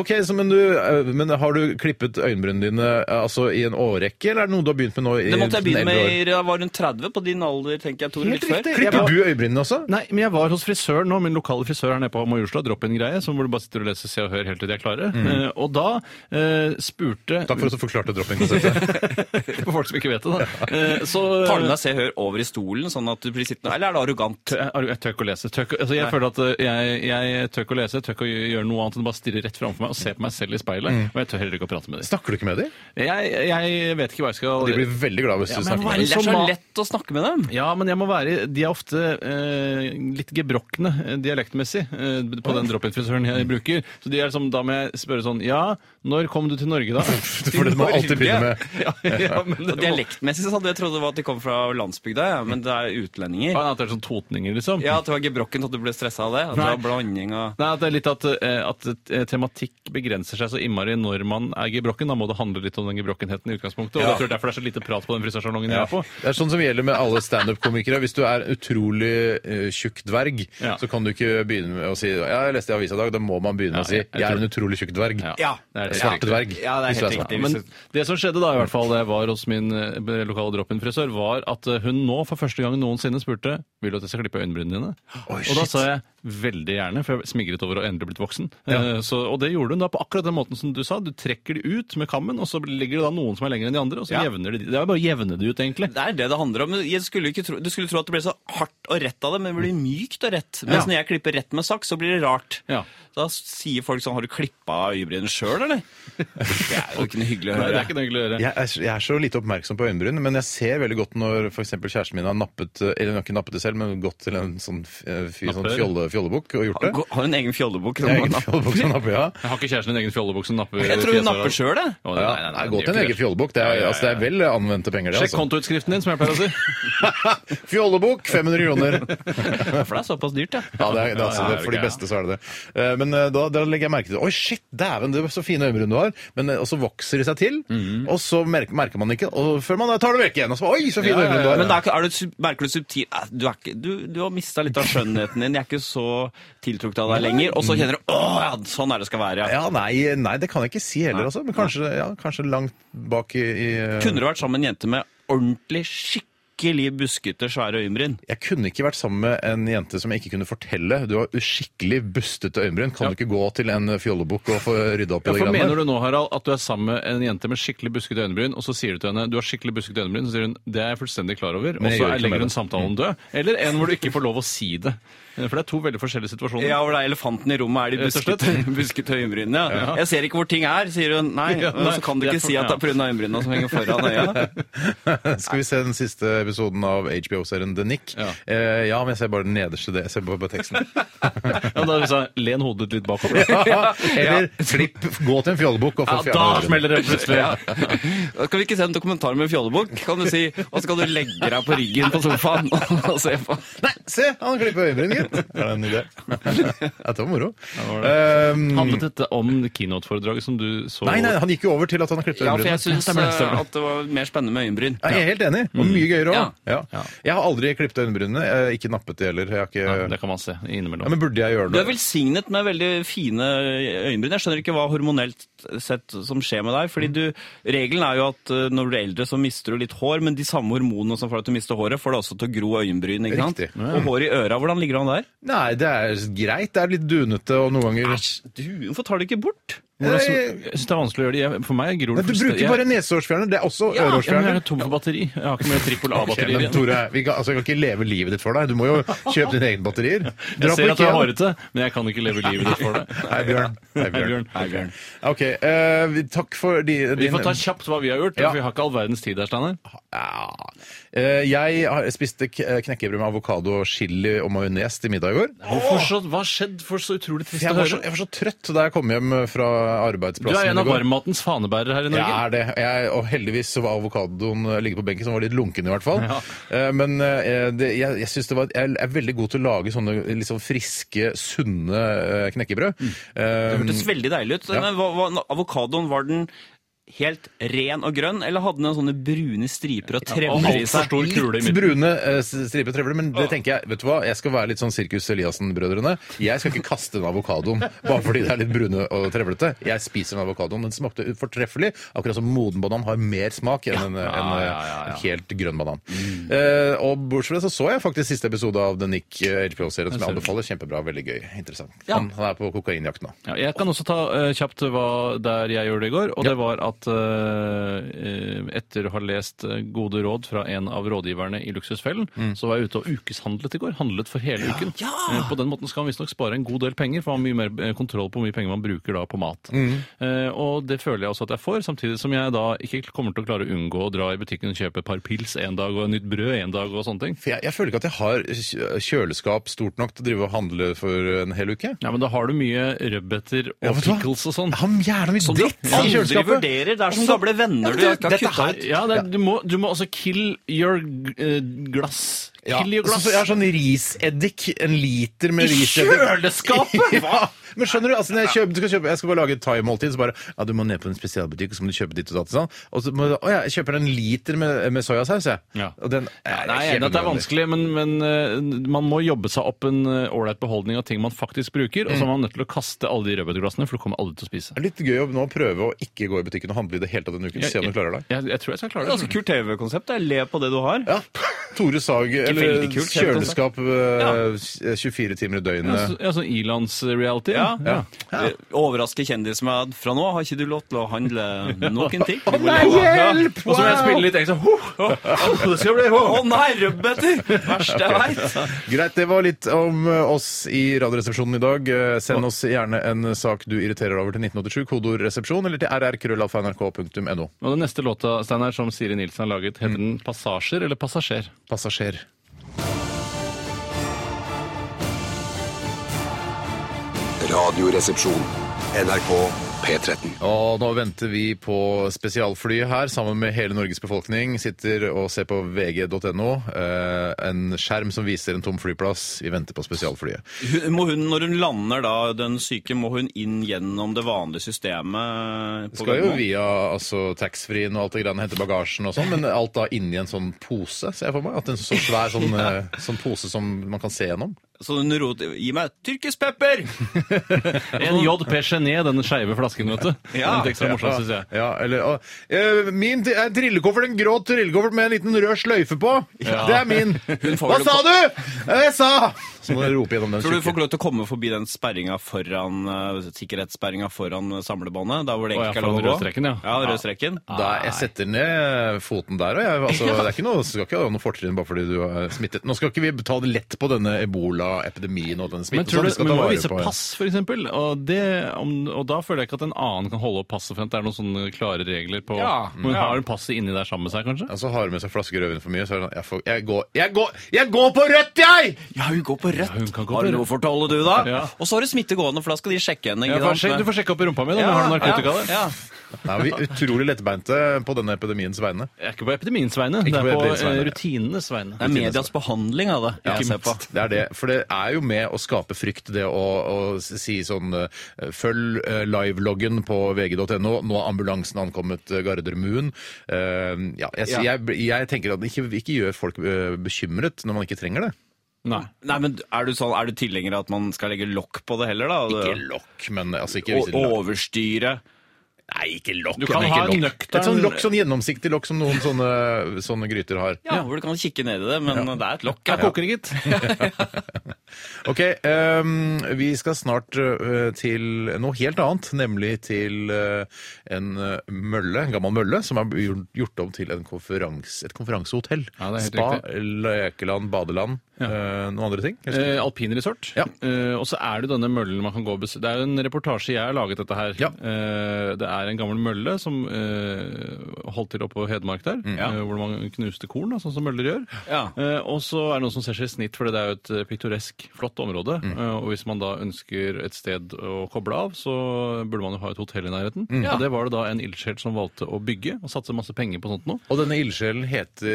Ok, så, men, du, eh, men har du klippet øyenbrynene dine eh, altså, i en årrekke, eller er det noe du har begynt med nå? I,
Det måtte jeg begynne
dine
med
eldre
i- jeg var rundt 30, på din alder, tenker jeg,
år?
Tore. Litt
Helt
før.
riktig. Klipper du øyenbrynene også?
Nei, men jeg var hos frisøren nå, min lokale frisør her nede på Majorstua, drop-in-greie, som hvor du bare sitter og leser Se og Hør helt til de er klare. Eh, og da eh, spurte
Takk for at du forklarte dropping-konseptet.
For folk som ikke vet det, da. Eh, så
Tar du deg Se og Hør over i stolen, sånn at du blir sittende Eller er det arrogant?
Tø- eh, Jeg jeg tør ikke å lese. Tør, ikke- altså jeg føler at eh, jeg, jeg tør ikke å lese, jeg tør ikke å gjø- gjøre noe annet enn å bare stirre rett framfor meg og se på meg selv i speilet.
Mm.
Og jeg tør heller ikke å prate med dem.
Snakker du ikke med dem?
Jeg, jeg vet ikke hva jeg skal
De blir veldig glad hvis
Ja,
du
men
snakker med
hva er
dem.
Det er så
ma-
lett å snakke med dem.
Ja, men jeg må være De er ofte eh, litt gebrokne eh, dialektmessig eh, på den drop-in-frisøren jeg bruker. Så de er liksom, da må jeg spørre sånn Ja, når kom du til Norge, da?
For det må alltid begynne med
ja, ja, men det
Og
må,
Dialektmessig så hadde jeg trodd det var at de kom fra landsbygda, ja, men det er utlendinger.
Ja, at det er sånn totninger, liksom.
Ja, At det var gebrokken til at du ble stressa av det? At det var blanding av
Nei, at det er litt at, eh, at eh, tematikk begrenser seg så innmari når man er gebrokken. Da må det handle litt om den gebrokkenheten i utgangspunktet. Og jeg tror derfor det er så lite prat på den frisørsalongen jeg er på.
Det er sånn som gjelder med alle standup-komikere. Hvis du er utrolig eh, tjukk dverg,
Ja.
så kan du ikke begynne med å si ja, 'Jeg leste i avisa i dag'. Da må man begynne
Ja,
med å si
jeg- jeg
'Jeg er
tror-
en utrolig tjukk dverg'.
Ja.
Det er det.
Svart dverg.
Ja, det er
hvis du
helt
svart.
riktig.
Men det som skjedde da i hvert fall da jeg var hos min eh, lokale drop-in-frisør, var at eh, hun nå for første gang noensinne spurte vil du at jeg skal klippe øyenbrynene dine. og da sa jeg veldig gjerne, for jeg smigret over å endelig blitt voksen. Eh, Så, og det gjorde hun da på akkurat den måten som du sa. Du trekker det ut med kammen, og så ligger det da noen som er lengre enn de andre, og så jevner det de. Det er jo bare å jevne det ut, egentlig.
Det er det det handler om. Jeg skulle ikke tro, du skulle tro at det ble så hardt og rett av det, men det blir mykt og rett. Mens
Ja.
når jeg klipper rett med saks, så blir det rart.
Ja.
Da sier folk sånn Har du klippa øyebrynene sjøl, eller? Det er jo ikke noe hyggelig å
Nei, det
høre.
er ikke noe hyggelig å gjøre.
Jeg er, jeg er så lite oppmerksom på øyenbryn, men jeg ser veldig godt når for eksempel kjæresten min har nappet Eller hun har ikke nappet det selv, men gått til en sånn, f- fyr, sånn
Napper.
fjolle, fjollebukk og gjort det.
Gå- Har en egen fjollebukk.
Jeg er egen fjollebukk som napper, ja.
Jeg har ikke kjæresten din egen fjollebukk som napper
Jeg tror
fjeset
hun napper
av-
sjøl, jeg.
Å,
Ja,
nei, nei, nei,
Gå
det
til en egen
gjør ikke det.
fjollebukk. Det, er- altså, det er vel anvendte penger, det.
Sjekk
Altså.
kontoutskriften din, som jeg pleier å si.
Fjollebukk, 500 kroner.
For det er såpass dyrt, ja.
Ja, det er, det er, altså,
Ja, ja,
det, for de
ok, ja.
beste så er det det. Eh, Men eh, da, da legger jeg merke til det. Oi, shit, dæven, det var så fine øyenbryn du har. Men, eh, og så vokser de seg til,
Mhm.
og så merker, merker man ikke, og før man da tar det vekk igjen. Og så, Oi, så fine
Ja, ja,
øyenbryn du
ja,
har.
Men det er, ikke- er du, sub- merker du subtil eh, Du, er ikke, du, du har mista litt av skjønnheten din. Jeg er ikke så tiltrukket av deg lenger. Og så kjenner du Å ja, sånn er det skal være. Ja.
Ja, nei, nei, det kan jeg ikke si heller, altså. Men kanskje, ja, kanskje langt bak i, i
Kunne du vært sammen med en jente med ordentlig, skikkelig skikkelig buskete, svære øyenbryn.
Jeg kunne ikke vært sammen med en jente som jeg ikke kunne fortelle. Du har skikkelig bustete øyenbryn. Kan du ikke gå til en fjollebukk og få rydda opp i det
Ja,
greiene
for Mener
der?
du nå Harald, at du er sammen med en jente med skikkelig buskete øyenbryn, og så sier du til henne du har skikkelig buskete øyenbryn, så sier hun det er jeg fullstendig klar over, og
jeg
så
gjør ikke
er-
noe med
legger hun
det. Mm.
samtalen død? Eller en hvor du ikke får lov å si det? For det er to veldig forskjellige situasjoner.
Ja, hvor det er elefanten i rommet, er de
Rett og slett.
buskete, buskete øyenbrynene. Ja.
Ja.
Jeg ser ikke hvor ting er, sier hun. Nei,
Ja,
og
nei,
så kan du ikke
det er for-
si at det er pga. øyenbrynene som henger foran øya.
Skal vi se den siste episoden av HBO-serien The Nick?
Ja.
Eh, ja, men jeg ser bare den nederste. det- Jeg ser bare på teksten.
Ja, da er det sånn, Len hodet litt bakover. Ja,
Eller klipp, gå til en fjollebukk og få
da
fjernet
smeller det plutselig.
Da skal vi ikke se en dokumentar med en fjollebukk, kan du si. Og så kan du legge deg på ryggen på sofaen og se på.
Nei, se! Han klipper øyenbryn, gitt. Er det en idé? Dette var moro.
var
Um,
Mm. Handlet dette om keynote-foredraget som du så
nei, nei, han gikk jo over til at han har klippet
Ja, for jeg
øyenbrynene.
syns
Stemmer det, stemmer det.
at det var mer spennende med øyenbryn.
Ja, Jeg er helt enig. Og mye gøyere òg. Ja.
Mm. Ja.
Jeg har aldri klippet øyenbrynene. eh, Ikke nappet de heller. Jeg har ikke...
Ja, Det kan man se innimellom.
ja, men burde jeg gjøre
Du er
det?
velsignet med veldig fine øyenbryn. Jeg skjønner ikke hva hormonelt sett som skjer med deg.
Mm.
fordi du, Regelen er jo at eh, når du blir eldre, så mister du litt hår, men de samme hormonene som får deg til å miste håret, får deg også til å gro øyenbryn. ikke sant?
Riktig.
Og hår i øra, hvordan ligger han der?
Nei, det er greit. Det er litt dunete og noen ganger
Æsj, du, Hvorfor tar du ikke bort?
Hvordan
Nei,
så- Jeg syns det er vanskelig å gjøre det. Jeg- For meg gror
Nei,
det
du
fullstendig-
bruker bare nesehårsfjerner. Det er også
Ja,
Ja, men Jeg
øreårsfjerner.
er tom for batteri. Jeg har ikke mer trippel
Ok,
A-batteri
men
igjen.
Tore, vi kan, altså, jeg kan ikke leve livet ditt for deg. Du må jo kjøpe dine egne batterier. Dra
Jeg
på
ser at du er
Ikea.
hårete, men jeg kan ikke leve livet ditt for det.
Hei, Bjørn. Hei, Bjørn.
Hei, Bjørn.
Ok, eh, vi- takk for de, din
Vi får ta kjapt hva vi har gjort,
Ja.
for vi har ikke all verdens tid her, Steinar.
Ja. Eh, Jeg har- spiste k- knekkebrød med avokado, chili og majones til middag i går.
Hvorfor så, Hva har skjedd? For så utrolig trist
Jeg
å
var, så,
høre.
jeg var så trøtt da jeg kom hjem fra arbeidsplassen.
Du er en
i
av
går.
varmmatens fanebærere her i
Jeg
Norge.
er det. Jeg, og heldigvis så var avokadoen eh, ligge på benken, som var litt lunken i hvert fall. Eh, Men eh, det, jeg, jeg synes det var Jeg er veldig god til å lage sånne litt sånn friske, sunne eh, knekkebrød.
Mm.
Eh,
Det hørtes veldig deilig ut.
Ja.
Men hva, hva, avokadoen, var den helt ren og grønn, eller hadde den sånne brune striper og
Og
trevler i
altfor
seg?
stor kule i
altså, Litt
midten.
brune eh, striper trevler, men det tenker jeg Vet du hva, jeg skal være litt sånn Sirkus Eliassen-brødrene. Jeg skal ikke kaste den avokadoen bare fordi det er litt brune og trevlete. Jeg spiser den avokadoen. Den smakte fortreffelig. Akkurat som moden banan har mer smak enn en, en,
Ja, ja, ja, Mm. ja.
en helt grønn banan. Eh, og bortsett fra det så så jeg faktisk siste episode av The Nick eh, HBO-serien som jeg anbefaler. Kjempebra, veldig gøy. Interessant. Han, han er på kokainjakt nå.
Ja, jeg kan også ta eh, kjapt hva der jeg gjorde det i går. Og det var at eh, eh, etter å ha lest eh, gode råd fra en av rådgiverne i Luksusfellen,
Mm.
så var jeg ute og ukeshandlet i går. Handlet for hele uken. Eh, på den måten skal man visstnok spare en god del penger, for man har mye mer eh, kontroll på hvor mye penger man bruker da på mat.
Mm.
Eh, og det føler jeg også at jeg får, samtidig som jeg da ikke kommer til å klare å unngå å dra i butikken og kjøpe et par pils en dag og nytt brød en dag og sånne ting.
For jeg, jeg føler ikke at jeg har kjø- kjøleskap stort nok til å drive og handle for en hel uke.
Ja, men da har du mye rødbeter og
Ja, vet du hva?
pickles og sånn.
Jeg har jævla mye
Som du
dritt i
aldri
kjøleskapet!
vurderer. Det er som gamle venner du ikke har
Dette
kutta
her-
ut.
Ja, det er, du, må, du må også kill your eh, glass.
Ja.
Kill your
Så,
glass.
så jeg har sånn riseddik, en liter med riseddik.
kjøleskapet?
Ja. Men skjønner du, altså når jeg, kjøper, du skal kjøpe, jeg skal bare lage et thaimåltid, så bare ja, du må ned på en spesialbutikk, og så må du kjøpe ditt og datt. Sånn. Og så må du, å ja, jeg kjøper en liter med, med soyasaus, jeg.
Ja.
Og den,
Ja, nei, jeg er enig
kjempe-
at det er vanskelig, men, men eh, man må jobbe seg opp en eh, ålreit beholdning av ting man faktisk bruker, og så er man nødt til å kaste alle de rødbetglassene, for du kommer aldri til å spise.
Det er litt gøy å nå prøve å ikke gå i butikken og handle i det hele tatt denne uken. Se om du klarer deg.
Jeg, jeg, jeg tror jeg skal klare
Ganske
det.
kult TV-konsept. Jeg ler på det du har.
Ja. Tore Sag, eller
veldig kult, helt
kjøleskap eh, 24 timer i
Ja,
døgnet.
så- Ja, sånn ilandsreality.
Ja.
ja.
Eh, Overraske kjendisen med at fra nå har ikke du lov til å handle noen ting. Å
nei, hjelp!
Og så må jeg spille litt ekstra. Ho, ho, ho, det skal bli ho.
Å nei, rødbeter! Verste jeg veit.
Greit, det var litt om eh, oss i Radioresepsjonen i dag. Eh, Send oss gjerne en sak du irriterer deg over til 1987, kodeord 'resepsjon', eller til rrkrøllalfa.nrk.no.
Og den neste låta, Steinar, som Siri Nilsen har laget, heter
Mm.
den 'Passasjer' eller 'Passasjer'?
Passasjer.
Radioresepsjon.
NRK P13.
Og nå venter vi på spesialflyet her, sammen med hele Norges befolkning. Sitter og ser på vg.no. eh, En skjerm som viser en tom flyplass. Vi venter på spesialflyet.
Hun- Må hun, når hun lander, da, den syke, må hun inn gjennom det vanlige systemet? på
Skal jo
Gardermoen?
via altså, taxfree-en og alt det greiene, hente bagasjen og sånn, men alt da inni en sånn pose, ser jeg for meg. At en så svær sånn, eh, sånn pose som man kan se gjennom.
Så hun rot, gi meg tyrkisk pepper!
En JP Gené, den skeive flasken, vet du. Den er litt ekstra morsom, syns jeg.
Ja, eller, å, eh, min t- er trillekoffert, en grå trillekoffert med en liten rød sløyfe på. Det er min.
får
Hva
vel
sa du?! Ja, Jeg sa! Så må du rope gjennom den
Tror du folk
tjukke.
lov til å komme forbi den sperringa foran eh, sikkerhetssperringa foran eh, samlebåndet? Der hvor det
Å,
egentlig
ja,
ikke er lov
foran
å gå?
rødstreken, ja.
ja rødstreken.
Da jeg setter ned eh, foten der, og jeg, altså, det er ikke noe, skal ikke ha noe fortrinn bare fordi du er smittet. Nå skal ikke vi ta det lett på denne ebola-epidemien og denne smitten.
Men tror
sånn, vi
du,
skal
men
ta
må jo
vare
vise
på-
pass, for eksempel. Og, det, om, og da føler jeg ikke at en annen kan holde opp passet for at det er noen sånne klare regler på
Ja,
Men
ja.
har hun passet inni der sammen med seg, kanskje?
Ja, så har du med seg flasker rødvin for mye, så er det sånn jeg, får, jeg, går, jeg, går, jeg går på rødt, jeg!
Ja, hun går på rødt!
hun kan gå på
har du
rødt.
noe å fortelle, du, da?
Ja.
Og så har du smitte gående, for da skal de sjekke henne.
Ja,
ikke
for
sant?
sjekk- du får sjekke opp i rumpa mi da, om
Ja,
jeg har noe narkotika
ja,
der.
ja.
Nei, vi er utrolig lettbeinte på denne epidemiens vegne.
Jeg er ikke på epidemiens vegne,
Ikke
det er
på
på,
epidemiens
eh,
vegne.
rutinenes vegne.
Det er medias behandling av det.
Ja,
ikke se på.
Det er det, for det er jo med å skape frykt, det å, å si sånn eh, Følg eh, liveloggen på vg.no. Nå har ambulansen ankommet eh, Gardermoen. Eh, ja, jeg,
Ja.
Jeg, jeg tenker at det ikke, ikke gjør folk eh, bekymret når man ikke trenger det.
Nei.
Nei, men er du, sånn, er du tilhenger av at man skal legge lokk på det heller, da?
Ikke lokk, men altså ikke
Og
vise lokk.
overstyre.
Nei, ikke lokk.
Du kan
men ikke
ha en
lokk.
nøktern-
Et sånn lokk, sånn gjennomsiktig lokk som noen sånne, sånne gryter har.
Ja, hvor du kan kikke ned i det, men det er et lokk.
Jeg koker det, gitt.
Ok, ehm, vi skal snart øh, til noe helt annet, nemlig til øh, en øh, mølle, en gammel mølle, som er gjort- gjort om til en konferans, et konferansehotell.
Ja, det er helt
Spa,
riktig.
Lekeland, badeland, øh, noen andre ting. husker
Eh,
du?
Alpinresort.
Ja.
Eh, og så er det denne møllen man kan gå og besøke. Det er jo en reportasje jeg har laget dette her.
Ja.
Eh, det er en gammel mølle som eh, holdt til oppe på Hedmark der,
Mm.
eh, hvor man knuste korn, da, sånn som møller gjør.
Ja.
Eh, og så er det noen som ser seg i snitt, for det er jo et eh, pittoresk, flott område.
Mm.
Eh, og hvis man da ønsker et sted å koble av, så burde man jo ha et hotell i nærheten.
Mm.
Og det var det da en ildsjel som valgte å bygge, og satse masse penger på sånt noe.
Og denne ildsjelen heter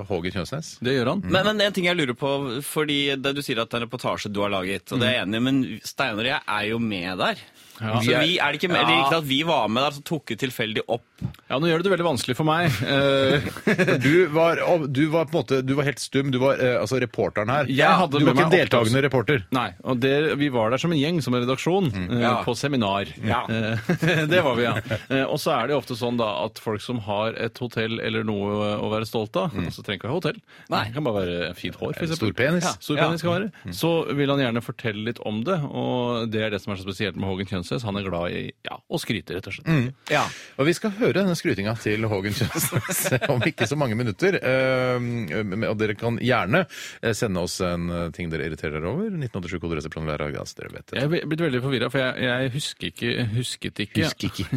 øh, Hågen Kjønsnes.
Det gjør
Mm.
han.
Men, men en ting jeg lurer på, fordi det du sier at det er en reportasje du har laget, og det er jeg enig i, men Steinar og jeg er jo med der. Så vi er det ikke med, eller ikke at vi var med der, så tok vi tilfeldig opp.
Ja, nå gjør du det veldig vanskelig for meg. Eh,
For Du var, og du var på en måte, du var helt stum, du var øh, altså reporteren her.
Jeg hadde
du
med
var ikke
meg
en deltakende reporter.
Nei, og det, vi var der som en gjeng, som en redaksjon, eh,
Ja.
på seminar. Eh, det var vi, ja. Eh, og så er det jo ofte sånn da at folk som har et hotell eller noe å være stolt av, så trenger ikke ha hotell, Nei. det kan bare være fint hår, for
Eller stor
eksempel.
penis.
Ja, stor penis skal være. Så vil han gjerne fortelle litt om det, og det er det som er så spesielt med Hågen Kjønsnes. Han er glad i ja, å skryte, rett og slett.
Og vi skal høre denne skrytinga til Hågen Kjønsnes om ikke så mange minutter. Ehm, Og dere kan gjerne eh, sende oss en ting dere irriterer dere over. 1987 koderesepsjon hver dag. Altså, dere vet det.
Jeg er blitt veldig forvirra, for jeg, jeg husker ikke, husket ikke,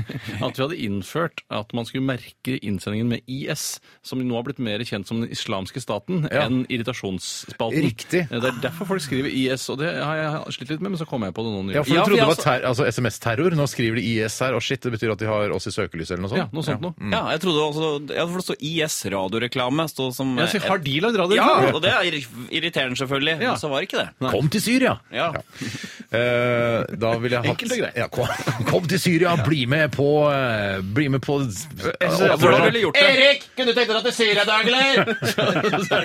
at vi hadde innført at man skulle merke innsendingen med IS, som nå har blitt mer kjent som den islamske staten
Ja.
enn irritasjonsspalten. Eh,
Riktig.
Det er derfor folk skriver IS, og det har jeg slitt litt med, men så kom jeg på det nå
Ja,
nylig.
for du
Ja, for
trodde det
jeg
var ter altså SMS-terror. Nå skriver de IS her, og shit, det betyr at de har oss i søkelyset eller noe sånt.
Ja, noe sånt noe.
Ja, Mm. jeg trodde også, jeg trodde det stod IS-radioreklame. stod som- eh,
Jeg sier, har de lagd radio?
Ja, og det er irri- irriterende selvfølgelig,
Ja.
men så var det ikke det.
Kom til Syria!
Ja.
Eh, da vil jeg ha
Enkelt og greit.
Ja, kom, kom til Syria, bli med på eh, Bli med på
Ja, hvordan ville du gjort det?
Erik, kunne du tenkt deg at det sier deg, Dagler?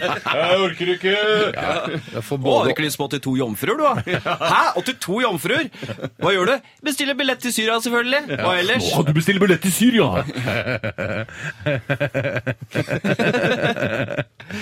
Jeg orker ikke!
Ja, for
Å, hadde
både
ikke lyst på 82 jomfruer, du da? Hæ? 82 jomfruer? Hva gjør du? Bestiller billett til Syria, selvfølgelig. Hva ellers?
du bestiller billett til Syria!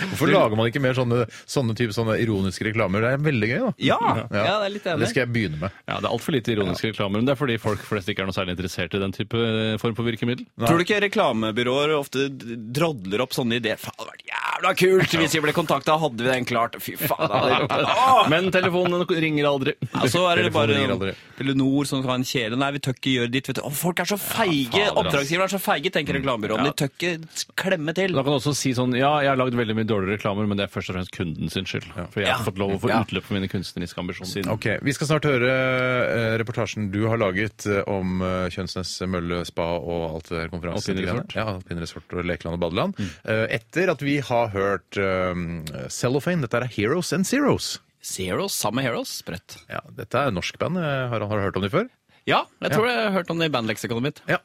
Hvorfor lager man ikke mer sånne, sånne type sånne ironiske reklamer? Det er veldig gøy, da.
Ja, ja, det er litt
Det
enig.
skal jeg begynne med.
Ja, Det er altfor lite ironiske reklamer, men det er fordi folk flest ikke er noe særlig interessert i den type eh, form for virkemiddel.
Tror du ikke reklamebyråer ofte drodler opp sånne ideer? Faen, det hadde vært jævla kult hvis vi ble kontakta, hadde vi den klart? Fy faen. da hadde vi- Åh!
Men telefonen ringer aldri.
Ja, så er det bare
Telefonen ringer aldri.
Telenor som kan kjele. Nei, vi tør ikke gjøre ditt. Vet du. Å, folk er så feige!
fader, ass.
Oppdragsgivere er så feige, tenker reklamebyråene. De tør ikke klemme til.
Da kan du også si sånn Ja, jeg har lagd veldig mye dårlige reklamer, men det er først og fremst kunden sin skyld. For jeg har ikke fått lov å få utløp for mine kunstneriske ambisjoner.
Ok, Vi skal snart høre eh, reportasjen du har laget eh, om eh, Kjønsnes mølle, spa og alt det der konferansen.
Alpinresort.
Ja, alpinresort og Lekeland og badeland.
Mm.
Eh, etter at vi har hørt eh, Cellophane. Dette er Heroes and Zeros.
Zeros sammen med Heroes. Sprøtt.
Ja, dette er norsk band. eh, Har, har du hørt om dem før?
Ja, jeg tror jeg har hørt om det i bandleksikonet mitt.
Ja.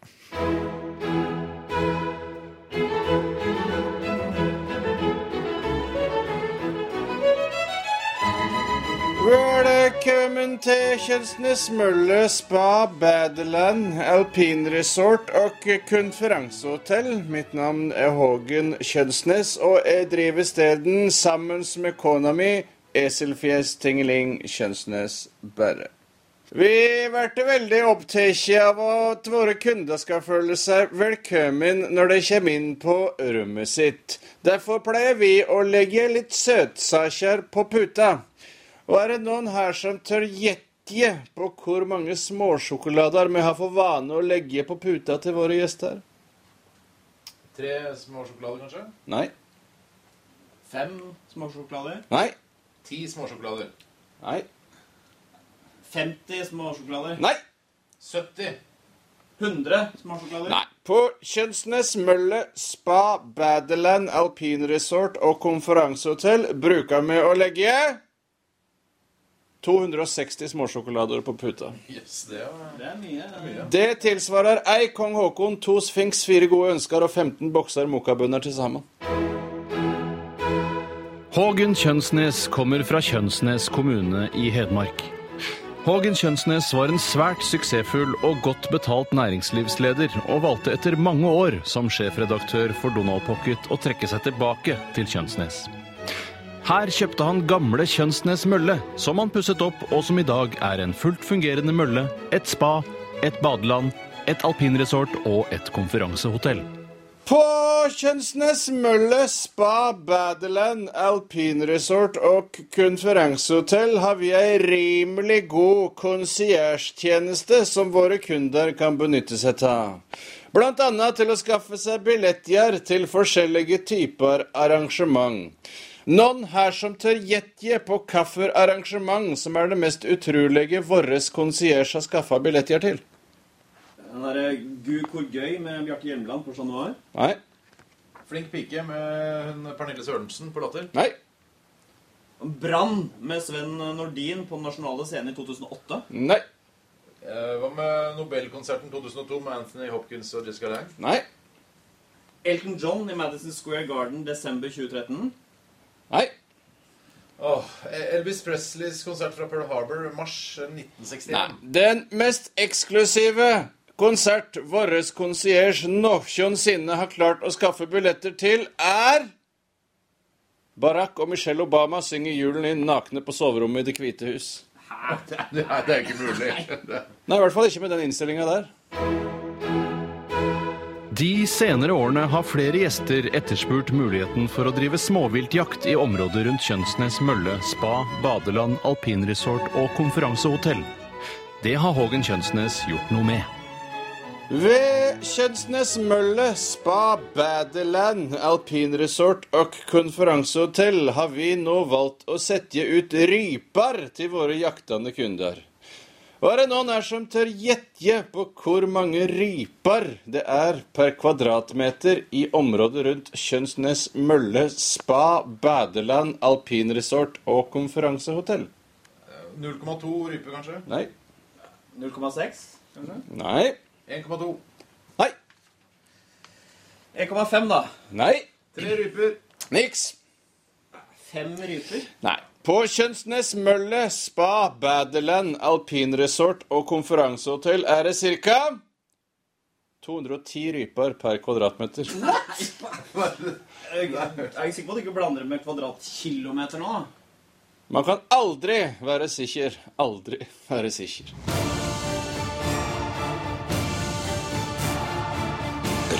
Whoa, Velkommen til Kjelsnes Mølle spa, badeland, alpinresort og konferansehotell. Mitt navn er Hågen Kjelsnes, og jeg driver steden sammen med kona mi, Eselfjes Tingeling Kjelsnes Børre. Vi ble veldig opptatt av at våre kunder skal føle seg velkommen når de kommer inn på rommet sitt. Derfor pleier vi å legge litt søtsaker på puta. Og er det noen her som tør gjette på hvor mange småsjokolader vi har for vane å legge på puta til våre gjester?
Tre små sjokolader, kanskje?
Nei.
Fem små sjokolader?
Nei.
Ti små sjokolader?
Nei.
50 små sjokolader.
Nei.
70?
100 små sjokolader.
Nei. På Kjønsnes Mølle spa, badeland, alpinresort og konferansehotell bruker vi å legge 260 småsjokolader på puta.
Det er mye. Det er mye.
Det tilsvarer ei kong Haakon, to sfinks, fire gode ønsker og 15 bokser mokabønner til sammen.
Hågen Kjønsnes kommer fra Kjønsnes kommune i Hedmark. Hågen Kjønsnes var en svært suksessfull og godt betalt næringslivsleder, og valgte etter mange år som sjefredaktør for Donald Pocket å trekke seg tilbake til Kjønsnes. Her kjøpte han gamle Kjønsnes mølle, som han pusset opp, og som i dag er en fullt fungerende mølle, et spa, et badeland, et alpinresort og et konferansehotell.
På Kjønsnes Mølle spa, badeland, alpinresort og konferansehotell har vi ei rimelig god konsiertjeneste som våre kunder kan benytte seg av. Blant annet til å skaffe seg billetter til forskjellige typer arrangement. Noen her som tør gjette på hvilket arrangement som er det mest utrolige vår konsierge har skaffa billetter til?
Den derre Gud hvor gøy med Bjarte Hjelmeland på Chat Noir.
Nei.
Flink pike med hun Pernille Sørensen på latter.
Nei.
Brann med Sven Nordin på den nasjonale scenen i 2008.
Nei.
Eh, Hva med Nobelkonserten 2002 med Anthony Hopkins og Jessica Lang?
Nei.
Elton John i Madison Square Garden desember 2013.
Nei.
Elvis Presleys konsert fra Pearl Harbor mars eh, 1961.
Den mest eksklusive konsert vår konsierge noensinne har klart å skaffe billetter til, er Barack og Michelle Obama synger julen inn nakne på soverommet i Det hvite hus.
Nei, det er ikke mulig.
Nei, i hvert fall ikke med den innstillinga der.
De senere årene har flere gjester etterspurt muligheten for å drive småviltjakt i området rundt Kjønsnes mølle, spa, badeland, alpinresort og konferansehotell. Det har Hågen Kjønsnes gjort noe med.
Ved Kjønsnes Mølle spa, badeland, alpinresort og konferansehotell har vi nå valgt å sette ut ryper til våre jaktende kunder. Og er det noen her som tør gjette på hvor mange ryper det er per kvadratmeter i området rundt Kjønsnes Mølle spa, badeland, alpinresort og konferansehotell?
0,2 rype, kanskje?
Nei.
0,6.
Nei.
1,2.
Nei.
1,5, da.
Nei.
Tre ryper.
Niks.
Fem ryper.
Nei. På Kjønsnes Mølle spa, badeland, alpinresort og konferansehotell er det ca. 210 ryper per kvadratmeter.
Jeg jeg er ikke sikker på at du ikke blander det med kvadratkilometer nå. da.
Man kan aldri være sikker. Aldri være sikker.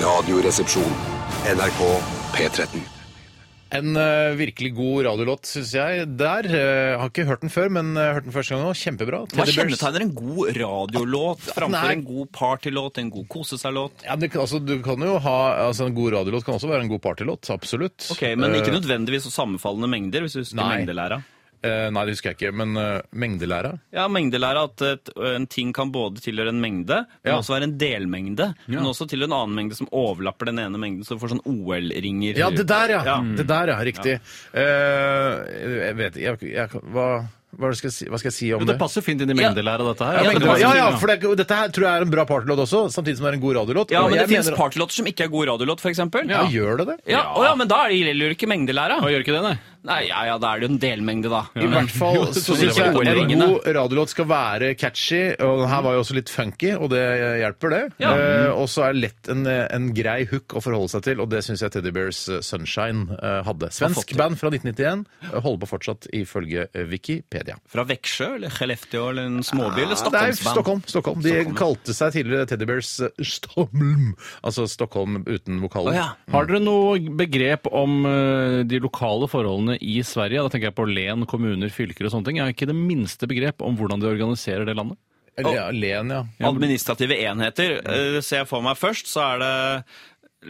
Radioresepsjon. NRK P13.
En eh, virkelig god radiolåt, syns jeg. Der eh, har ikke hørt den før, men eh, hørt den første gang nå. Kjempebra.
Hva
Teddy Bears.
kjennetegner en god radiolåt
Nei.
framfor en god partylåt, en god kose-seg-låt?
Ja, men det, kan- altså, du kan jo ha, altså, en god radiolåt kan også være en god partylåt. Absolutt.
Ok, Men ikke
Eh,
nødvendigvis så sammenfallende mengder, hvis du husker
Nei.
mengdelæra.
eh, nei, det husker jeg ikke, men eh, mengdelæra.
Ja, mengdelæra at et, en ting kan både tilhøre en mengde, men
Ja.
også være en delmengde. Men også til en annen mengde som overlapper den ene mengden, så du får sånn OL-ringer.
Ja, det der, ja!
Ja.
Det der, ja. Riktig. Eh, jeg vet jeg, jeg, hva, hva, er det jeg skal jeg si, hva skal jeg si om
Jo,
det?
det passer fint inn i mengdelæra, dette her.
Ja,
Ja,
men
det
det var-
passer
ja, ja,
fint,
for det, er- dette her tror jeg er en bra partylåt også, samtidig som det er en god radiolåt.
Ja,
Og
men det
jeg
fins
mener-
partylåter som ikke er god radiolåt, f.eks.
Ja, gjør det det?
Ja, å ja, men da er det- gjelder det jo ikke mengdelæra.
Å, gjør ikke det, nei?
Nei, ja, ja, da er det jo en delmengde, da.
I hvert fall så syns jeg
det var
en
ringende.
god radiolåt skal være catchy, og den her var jo også litt funky, og det hjelper, det.
Ja.
Eh, og så er det lett en, en grei hook å forholde seg til, og det syns jeg Teddy Bears Sunshine eh, hadde.
fått
Svensk
til.
band fra 1991, eh, holder på fortsatt ifølge eh, Wikipedia.
Fra Veksjø eller Skellefteå eller en småby eller
Ja, det er
Stockholmsband?
Stockholm, Stockholm. De
Stockholm, ja.
kalte seg tidligere Teddy Bears eh, Stockholm, altså Stockholm uten vokalen.
Å, ja.
Har dere noe begrep om eh, de lokale forholdene i Sverige? Da tenker jeg på len, kommuner, fylker og sånne ting. Jeg har ikke det minste begrep om hvordan de organiserer det landet.
Eller ja, Len, ja.
Administrative enheter eh, ser jeg for meg først, så er det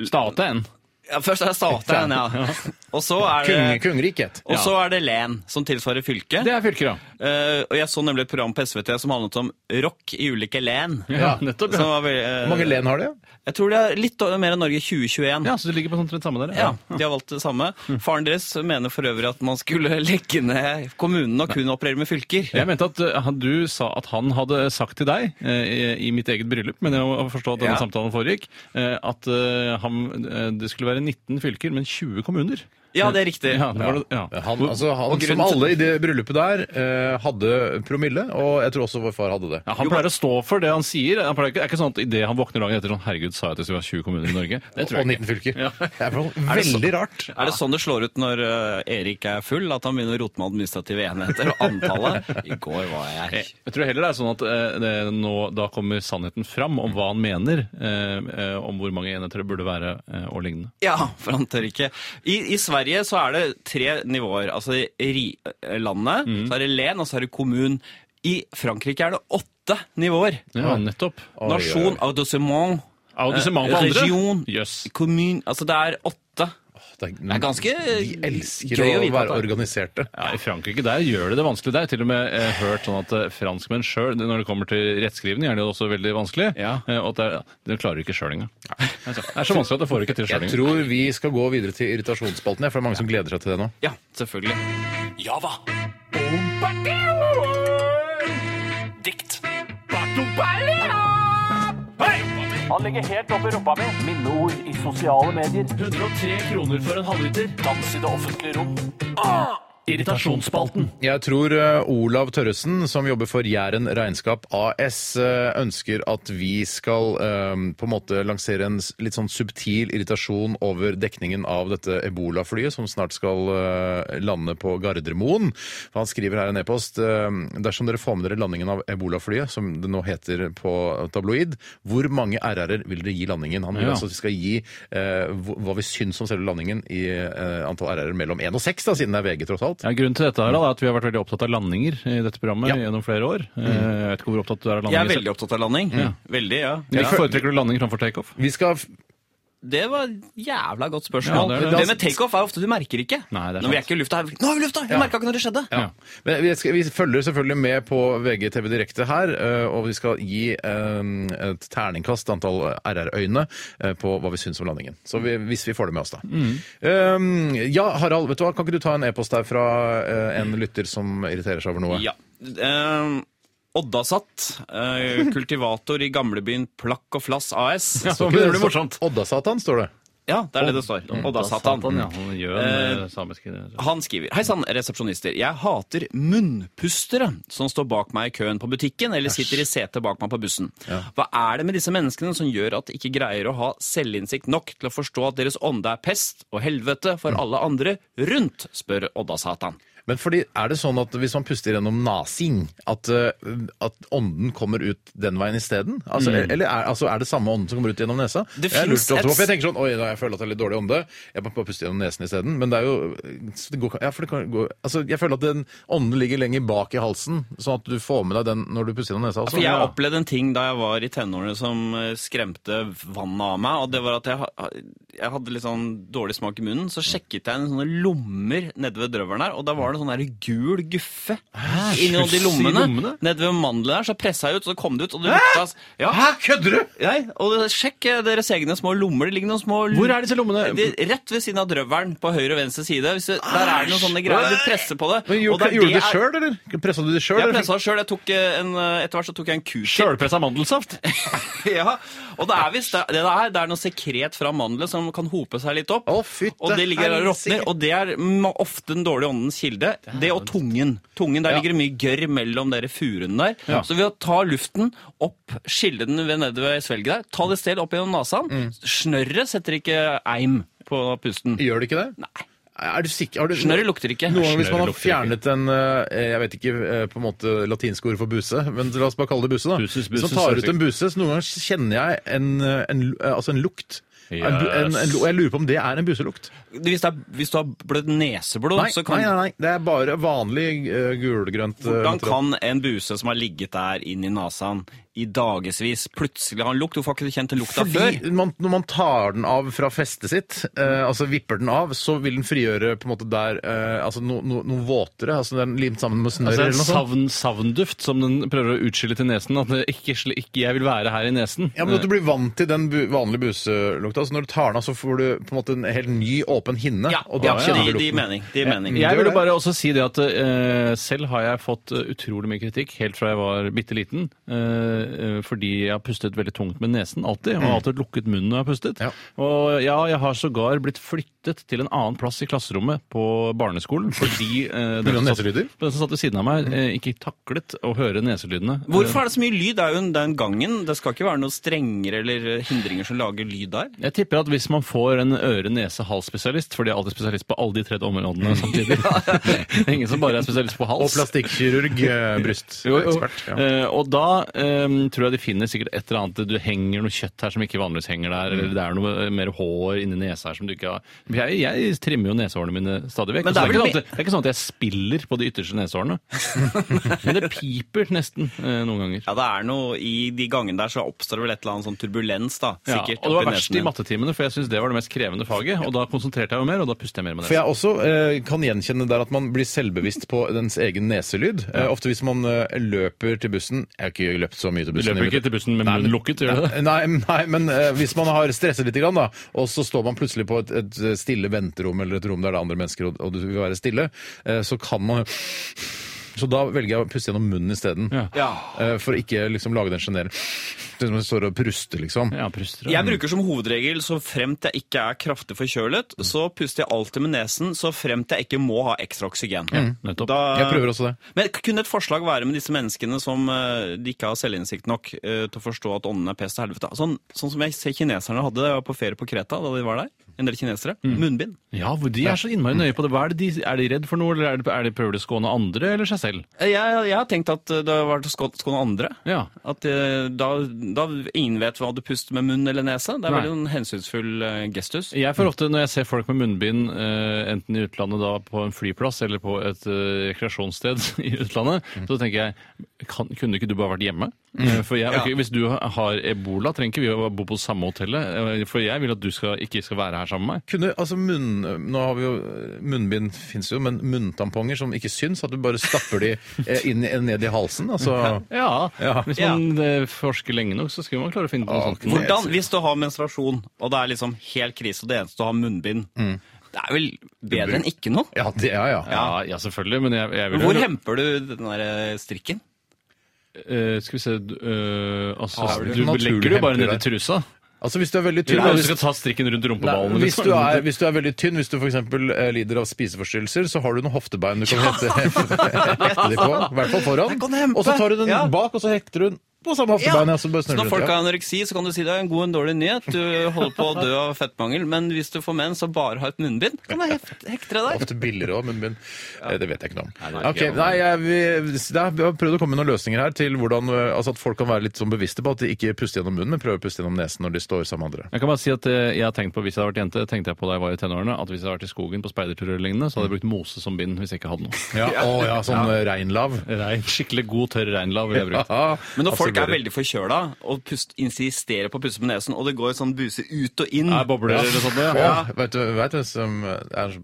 Staten.
ja, Først er det staten, ja. Og så er
Kung,
det,
kungeriket.
og så er det len, som tilsvarer fylke.
Det er fylker, ja.
Eh, og jeg så nemlig et program på SVT som handlet om rock i ulike len.
Ja, nettopp.
Som
Ja.
var veldig, eh,
Hvor mange len har de?
Jeg tror det er litt mer enn Norge i 2021.
ja, så det ligger på sånn trett samme der.
Ja, de har valgt det samme. Faren deres mener for øvrig at man skulle legge ned kommunene og kun operere med fylker.
Jeg mente at eh, han- du sa at han hadde sagt til deg eh, i- i mitt eget bryllup, men jeg må forstå at
Ja.
denne samtalen foregikk, eh, at eh, han, eh, det skulle være 19 fylker, men 20 kommuner.
Ja, det er riktig.
Ja, det var, det- ja.
Han, altså,
og
han som
grunnen til-
alle i det bryllupet der eh, hadde promille, og jeg tror også vår far hadde det.
Ja, han pleier å stå for det han sier. Han pleier ikke, det er ikke sånn at idet han våkner dagen etter sånn Herregud, sa jeg at det skulle være 20 kommuner i Norge? Det tror
og
jeg ikke.
19 fylker.
Ja.
Det er vel veldig rart.
Er det sånn det slår ut når eh, Erik er full, at han begynner å rote med administrative enheter og antallet? I går var jeg
Jeg tror heller det er sånn at eh, det, nå, da kommer sannheten fram om hva han mener eh, eh, om hvor mange enheter det burde være eh, og lignende.
Ja, for han tør ikke. I, I Sverige så er det tre nivåer. Altså i ri- eh, landet,
Mm.
så er det len, og så er det kommun. I Frankrike er det åtte nivåer.
Ja, nettopp.
oi. Eh,
Nasjon, audissement,
Audissement på andre?
region,
Jøss.
kommune Altså det er åtte.
Det
Det er ganske
de elsker
gøy
å
å vite at
være
det er.
organiserte.
Ja, I Frankrike der gjør de det vanskelig. Det er til og med eh, hørt sånn at eh, franskmenn sjøl, når det kommer til rettskrivende, gjør det også veldig vanskelig.
Ja.
Eh, og at det, er, det klarer de ikke sjøl engang. Det er så vanskelig at det får de ikke til sjøl
Jeg
engang.
tror vi skal gå videre til irritasjonsspalten, jeg, for det er mange som gleder seg til det nå.
Ja, selvfølgelig.
Java. Dikt. Han ligger helt oppi rumpa mi. Minneord i sosiale medier. 103 kroner for en halvliter. Dans i det offentlige rom. Ah! Irritasjonsspalten.
Jeg tror eh, Olav Tørresen, som jobber for Jæren Regnskap AS, eh, ønsker at vi skal eh, på en måte lansere en s- litt sånn subtil irritasjon over dekningen av dette Ebola-flyet som snart skal eh, lande på Gardermoen. For han skriver her en e-post. eh, Dersom dere får med dere landingen av Ebola-flyet, som det nå heter på tabloid, hvor mange RR-er vil dere gi landingen? Han vil
Ja.
altså at vi skal gi eh, hv- hva vi syns om selve landingen i eh, antall RR-er mellom 1 og 6, da, siden det er VG tross alt.
Ja, grunnen til dette her da, er at vi har vært veldig opptatt av landinger i dette programmet
Ja.
gjennom flere år. Eh, Jeg vet ikke hvor opptatt du er
Jeg
av
er
landinger. selv.
veldig opptatt av landing. Veldig, ja.
Men Foretrekker du landing framfor takeoff?
Vi skal f-
Det var et jævla godt spørsmål.
Ja,
det,
det er det.
med takeoff er ofte du merker ikke.
Nei, det er
Når vi er
sant.
ikke i lufta, er vi, nå er vi i lufta! Jeg merka ikke når det skjedde.
Ja. Men vi, skal, vi følger selvfølgelig med på VGTV Direkte her, eh, og vi skal gi eh, et terningkast antall RR-øyne eh, på hva vi syns om landingen. Så vi, hvis vi får det med oss, da.
Mm.
Eh, ja, Harald, vet du hva? kan ikke du ta en e-post her fra eh, en lytter som irriterer seg over noe?
Ja. Eh, Oddasatt, eh, kultivator i gamlebyen Plakk og Flass AS.
Ja, så blir det morsomt.
Oddasatan, står det.
Ja, det er det det står. Oddasatan.
Ja, han gjør en eh, samisk ja,
Han skriver Hei sann, resepsjonister. Jeg hater munnpustere som står bak meg i køen på butikken eller sitter i setet bak meg på bussen. Hva er det med disse menneskene som gjør at de ikke greier å ha selvinnsikt nok til å forstå at deres ånde er pest og helvete for alle andre rundt, spør Odda-Satan.
Men fordi, er det sånn at hvis man puster gjennom nasing, at, eh, at ånden kommer ut den veien isteden? Altså, Eller er, altså, er det samme ånden som kommer ut gjennom nesa?
Mm. Det
jeg,
finnes
lurte ofte på,
et-
for jeg tenker sånn Oi, da, jeg føler at jeg har litt dårlig ånde. Jeg må bare puste gjennom nesen isteden. Men det er jo så det går, ja, for det kan gå, altså, Jeg føler at den ånden ligger lenger bak i halsen, sånn at du får med deg den når du puster gjennom nesa.
For
Også.
jeg opplevde en ting da jeg var i tenårene som eh, skremte vannet av meg. Og det var at jeg, ha- jeg hadde litt sånn dårlig smak i munnen. Så sjekket jeg en sånne lommer nede ved drøvelen her, og da var det sånn der gul guffe inni de lommene.
lommene?
Nede ved mandelen her, så pressa jeg ut, så kom det ut, og det lukta ja,
Hæ, kødder du?!
Nei, og det- sjekk eh, deres egne små lommer. Det ligger noen små l-
Hvor er disse lommene?
De, rett ved siden av drøvelen, på høyre og venstre side. Hvis du, der er det noen sånne greier. Du presser på det.
Men
og det
Gjorde,
er
gjorde du det
er-
sjøl, eller? Pressa du det sjøl?
Jeg pressa sjøl. eh, Etter hvert så tok jeg en q-tip.
Sjølpressa mandelsaft?
ja, og det er visst det, det er, det er noe sekret fra mandelen som kan hope seg litt opp.
Å, fytte
og det ligger der og råtner.
helsike.
Og det er mm, ofte den dårlige åndens kilde. Det og tungen. Tungen, Der
Ja.
ligger det mye gørr mellom dere furene der.
Ja.
Så ved å ta luften opp, skille den ved nede ved svelget der, ta det et sted opp gjennom nesa,
Mm.
snørret setter ikke eim på pusten.
Gjør det ikke det? Nei. Er du sikker? Har du...
Snørret lukter ikke.
Noen ganger hvis man
Snørret
har
lukter
fjernet en eh, Jeg vet ikke eh, på en måte latinske ord for buse, men la oss bare kalle det buse, da.
Buses,
hvis
buses,
man tar
er
ut en buse, så noen ganger kjenner jeg en, eh, en, lu- eh, altså en lukt. En, bu- en, en, lu- jeg lurer på om det er en buselukt.
Hvis, det er, hvis du har blødd neseblod,
Nei,
så kan
nei, nei, nei, det er bare vanlig eh, gulgrønt. eh,
Hvordan
materiale.
kan en buse som har ligget der inn i nasaen i dagevis, plutselig ha en lukt? Hvorfor har ikke du kjent den lukta før?
Fordi man, når man tar den av fra festet sitt, eh, altså vipper den av, så vil den frigjøre på en måte der eh, altså no, no, noe våtere, altså den er limt sammen med snørr
Altså en
eller noe sånt.
savn, savnduft som den prøver å utskille til nesen. At det ikke, sli- ikke jeg vil være her i nesen.
Ja, men at Du blir vant til den bu vanlige buselukta. Så når du tar den av, så får du på en måte en helt ny, åpen hinne.
Ja,
og
ja,
da kjenner
det
du
gir
lukten.
mening. Det gir mening.
Jeg
gjør
ville
det.
bare også si det at eh, selv har jeg fått eh, utrolig mye kritikk helt fra jeg var bitte liten, eh, eh, fordi jeg har pustet veldig tungt med nesen alltid, og alltid lukket munnen når jeg har pustet.
Mm. Ja.
Og ja, jeg har sågar blitt flyttet til en annen plass i klasserommet på barneskolen, fordi eh,
Pga.
den, som satt,
neselyder?
den som satt ved siden av meg eh, ikke taklet å høre neselydene.
Hvorfor er det så mye lyd? Det er jo en- det er en gangen. Det skal ikke være noen strenger eller hindringer som lager lyd der.
Eh, Jeg tipper at hvis man får en øre-nese-hals-spesialist, for de er alltid spesialist på alle de tre områdene samtidig Det er Ingen som bare er spesialist på
Og
hals.
plastikkirurg, eh,
Jo, jo.
brystekspert. Ja.
Eh, og da eh, tror jeg de finner sikkert et eller annet Du henger noe kjøtt her som ikke vanligvis henger der, eller det er noe eh, mer hår inni nesa her som du ikke har Jeg, jeg trimmer jo nesehårene mine stadig vekk.
Men
så Det,
det er vel
er ikke sånn at- det er ikke sånn at jeg spiller på de ytterste nesehårene. Men det piper nesten eh, noen ganger.
Ja, det er noe I de gangene der så oppstår det vel et eller annet sånn turbulens, da.
Ja,
Sikkert.
og det var
oppi
verst
nesen
i
din.
mattetimene, for jeg syns det var det mest krevende faget. Og da konsentrerte jeg jo mer, og da pustet jeg mer med
For
nesen.
jeg også eh, kan gjenkjenne der at man blir selvbevisst på dens egen neselyd. Eh, ofte hvis man eh, løper til bussen Jeg har ikke løpt så mye til
Du
bussen.
løper ikke til bussen med munnen lukket, gjør du det?
Nei, nei, men eh, hvis man har stresset litt, grann, da, og så står man plutselig på et, et stille venterom eller et rom der det er andre mennesker, og, og du vil være stille, eh, så kan man Så da velger jeg å puste gjennom munnen isteden.
Ja.
Eh, For å ikke liksom lage den sjenerende Det er som om man står og pruster, liksom.
Ja, pruster og-
Jeg bruker som hovedregel så fremt jeg ikke er kraftig forkjølet,
Mm.
så puster jeg alltid med nesen så fremt jeg ikke må ha ekstra oksygen.
nettopp.
Jeg prøver også det.
Men kunne et forslag være med disse menneskene som eh, de ikke har selvinnsikt nok eh, til å forstå at ånden er pest til helvete? Sånn, sånn som jeg ser kineserne hadde da jeg var på ferie på Kreta da de var der. En del kinesere. Munnbind.
Ja, hvor de er så innmari nøye på det. Hva er, det de, er de redd for noe, eller er de, er de prøver de å skåne andre eller seg selv?
Eh, Jeg, jeg har tenkt at eh, det har vært å skå- skåne andre.
Ja.
At eh, da, da ingen vet hva du puster med munn eller nese. Det er
Nei.
veldig en hensynsfull eh, gestus.
Jeg får ofte, når jeg ser folk med munnbind, eh, enten i utlandet da på en flyplass eller på et eh, rekreasjonssted i utlandet,
Mm.
så tenker jeg kan, kunne ikke du bare vært hjemme? Eh, For jeg, ok, Hvis du har ebola, trenger ikke vi å bo på samme hotellet. eh, For jeg vil at du skal, ikke skal være her sammen med meg.
Kunne, altså munn, nå har vi jo, Munnbind fins jo, men munntamponger som ikke syns, at du bare stapper de eh, inn, i- ned i halsen. Altså,
Ja,
Ja.
Hvis man eh, forsker lenge nok, så skulle man klare å finne på noe sånt.
Hvordan, hvis du har menstruasjon, og det er liksom helt krise, og det eneste du har munnbind, det er vel bedre enn ikke noe?
ja, det, ja, ja.
Ja, ja, selvfølgelig, men jeg, jeg vil
Hvor hemper du den der strikken?
Eh, skal vi se eh, altså,
Har du
Du
naturlig
legger det jo bare
hemper
ned i
der?
trusa.
Altså Hvis du er veldig tynn
Eller du
hvis,
skal ta strikken rundt
Nei,
rumpeballen.
hvis,
liksom.
du er, hvis du er veldig tynn, hvis du f.eks. lider av spiseforstyrrelser, så har du noen hoftebein du kan hente hekte de på. I hvert fall
Jeg kan
foran.
hempe.
Og så tar du den
Ja.
bak, og så hekter du den på samme hoftebein. Ja. Så bare
Så
snurrer
når
du
folk
rundt, ja.
har anoreksi, så kan du si det er en god og en dårlig nyhet. Du holder på å dø av fettmangel. Men hvis du får menn som bare har et munnbind, kan du heft- hektre deg.
Ofte billigere òg, men, men eh, det vet jeg ikke noe om.
det er
Ok,
ikke jeg
nei, jeg, vi, det er, vi har prøvd å komme med noen løsninger her til hvordan eh, altså at folk kan være litt sånn bevisste på at de ikke puster gjennom munnen, men prøver å puste gjennom nesen når de står sammen med andre.
Jeg kan bare si at eh, jeg har tenkt på, Hvis jeg hadde vært jente, tenkte jeg på da jeg var i tenårene, at hvis jeg hadde vært i skogen på speiderturer eller lignende, så hadde jeg brukt mose som bind hvis jeg ikke hadde noe.
Ja, å, ja sånn eh, reinlav.
Rein, skikkelig god, tørr reinlav ville jeg brukt.
Haha,
Men når folk er
absorberer.
veldig forkjøla og pust, insisterer på å puste med nesen, og det går sånn buse ut og inn
Er bobler eller sånt,
Å,
ja.
vet du vet du hvem som er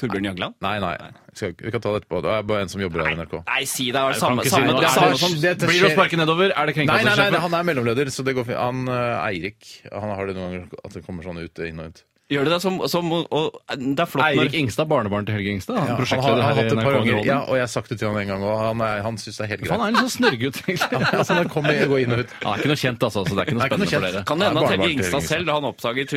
Torbjørn Jagland?
Nei, nei. Vi, skal, ikke- vi kan ta det etterpå. Det er bare en som jobber her i NRK.
Nei, si det er det
Kan
samme.
ikke si
samme, det
noe. Det
er
er
samme
Anders.
som
det
Blir det å
skjer-
sparke nedover? Er det
Nei, nei, nei,
kringkastingssjefen?
han er mellomleder, så det går fint. Han eh, Eirik han har det noen ganger at det kommer sånn ut inn og ut.
Gjør det det som, som og, og, Det er flott
Eirik
når
Ingstad, barnebarn til Helge Ingstad. Han,
Ja, han har,
prosjektleder
han har
her i
hatt det et par
NRK
ganger, ja,
Underholdning.
og jeg har sagt det til han en gang, og han, er- han syns det er helt
Han
greit.
er litt sånn snørrgutt, egentlig.
Ja, så han kommer og går inn og ut.
Han er ikke noe kjent, altså, så det er ikke noe
Det er ikke noe
spennende
kjent.
for dere.
Kan det hende at
Ja,
Helge
barnebarn til
Ingstad
Helge
selv, da han oppdaget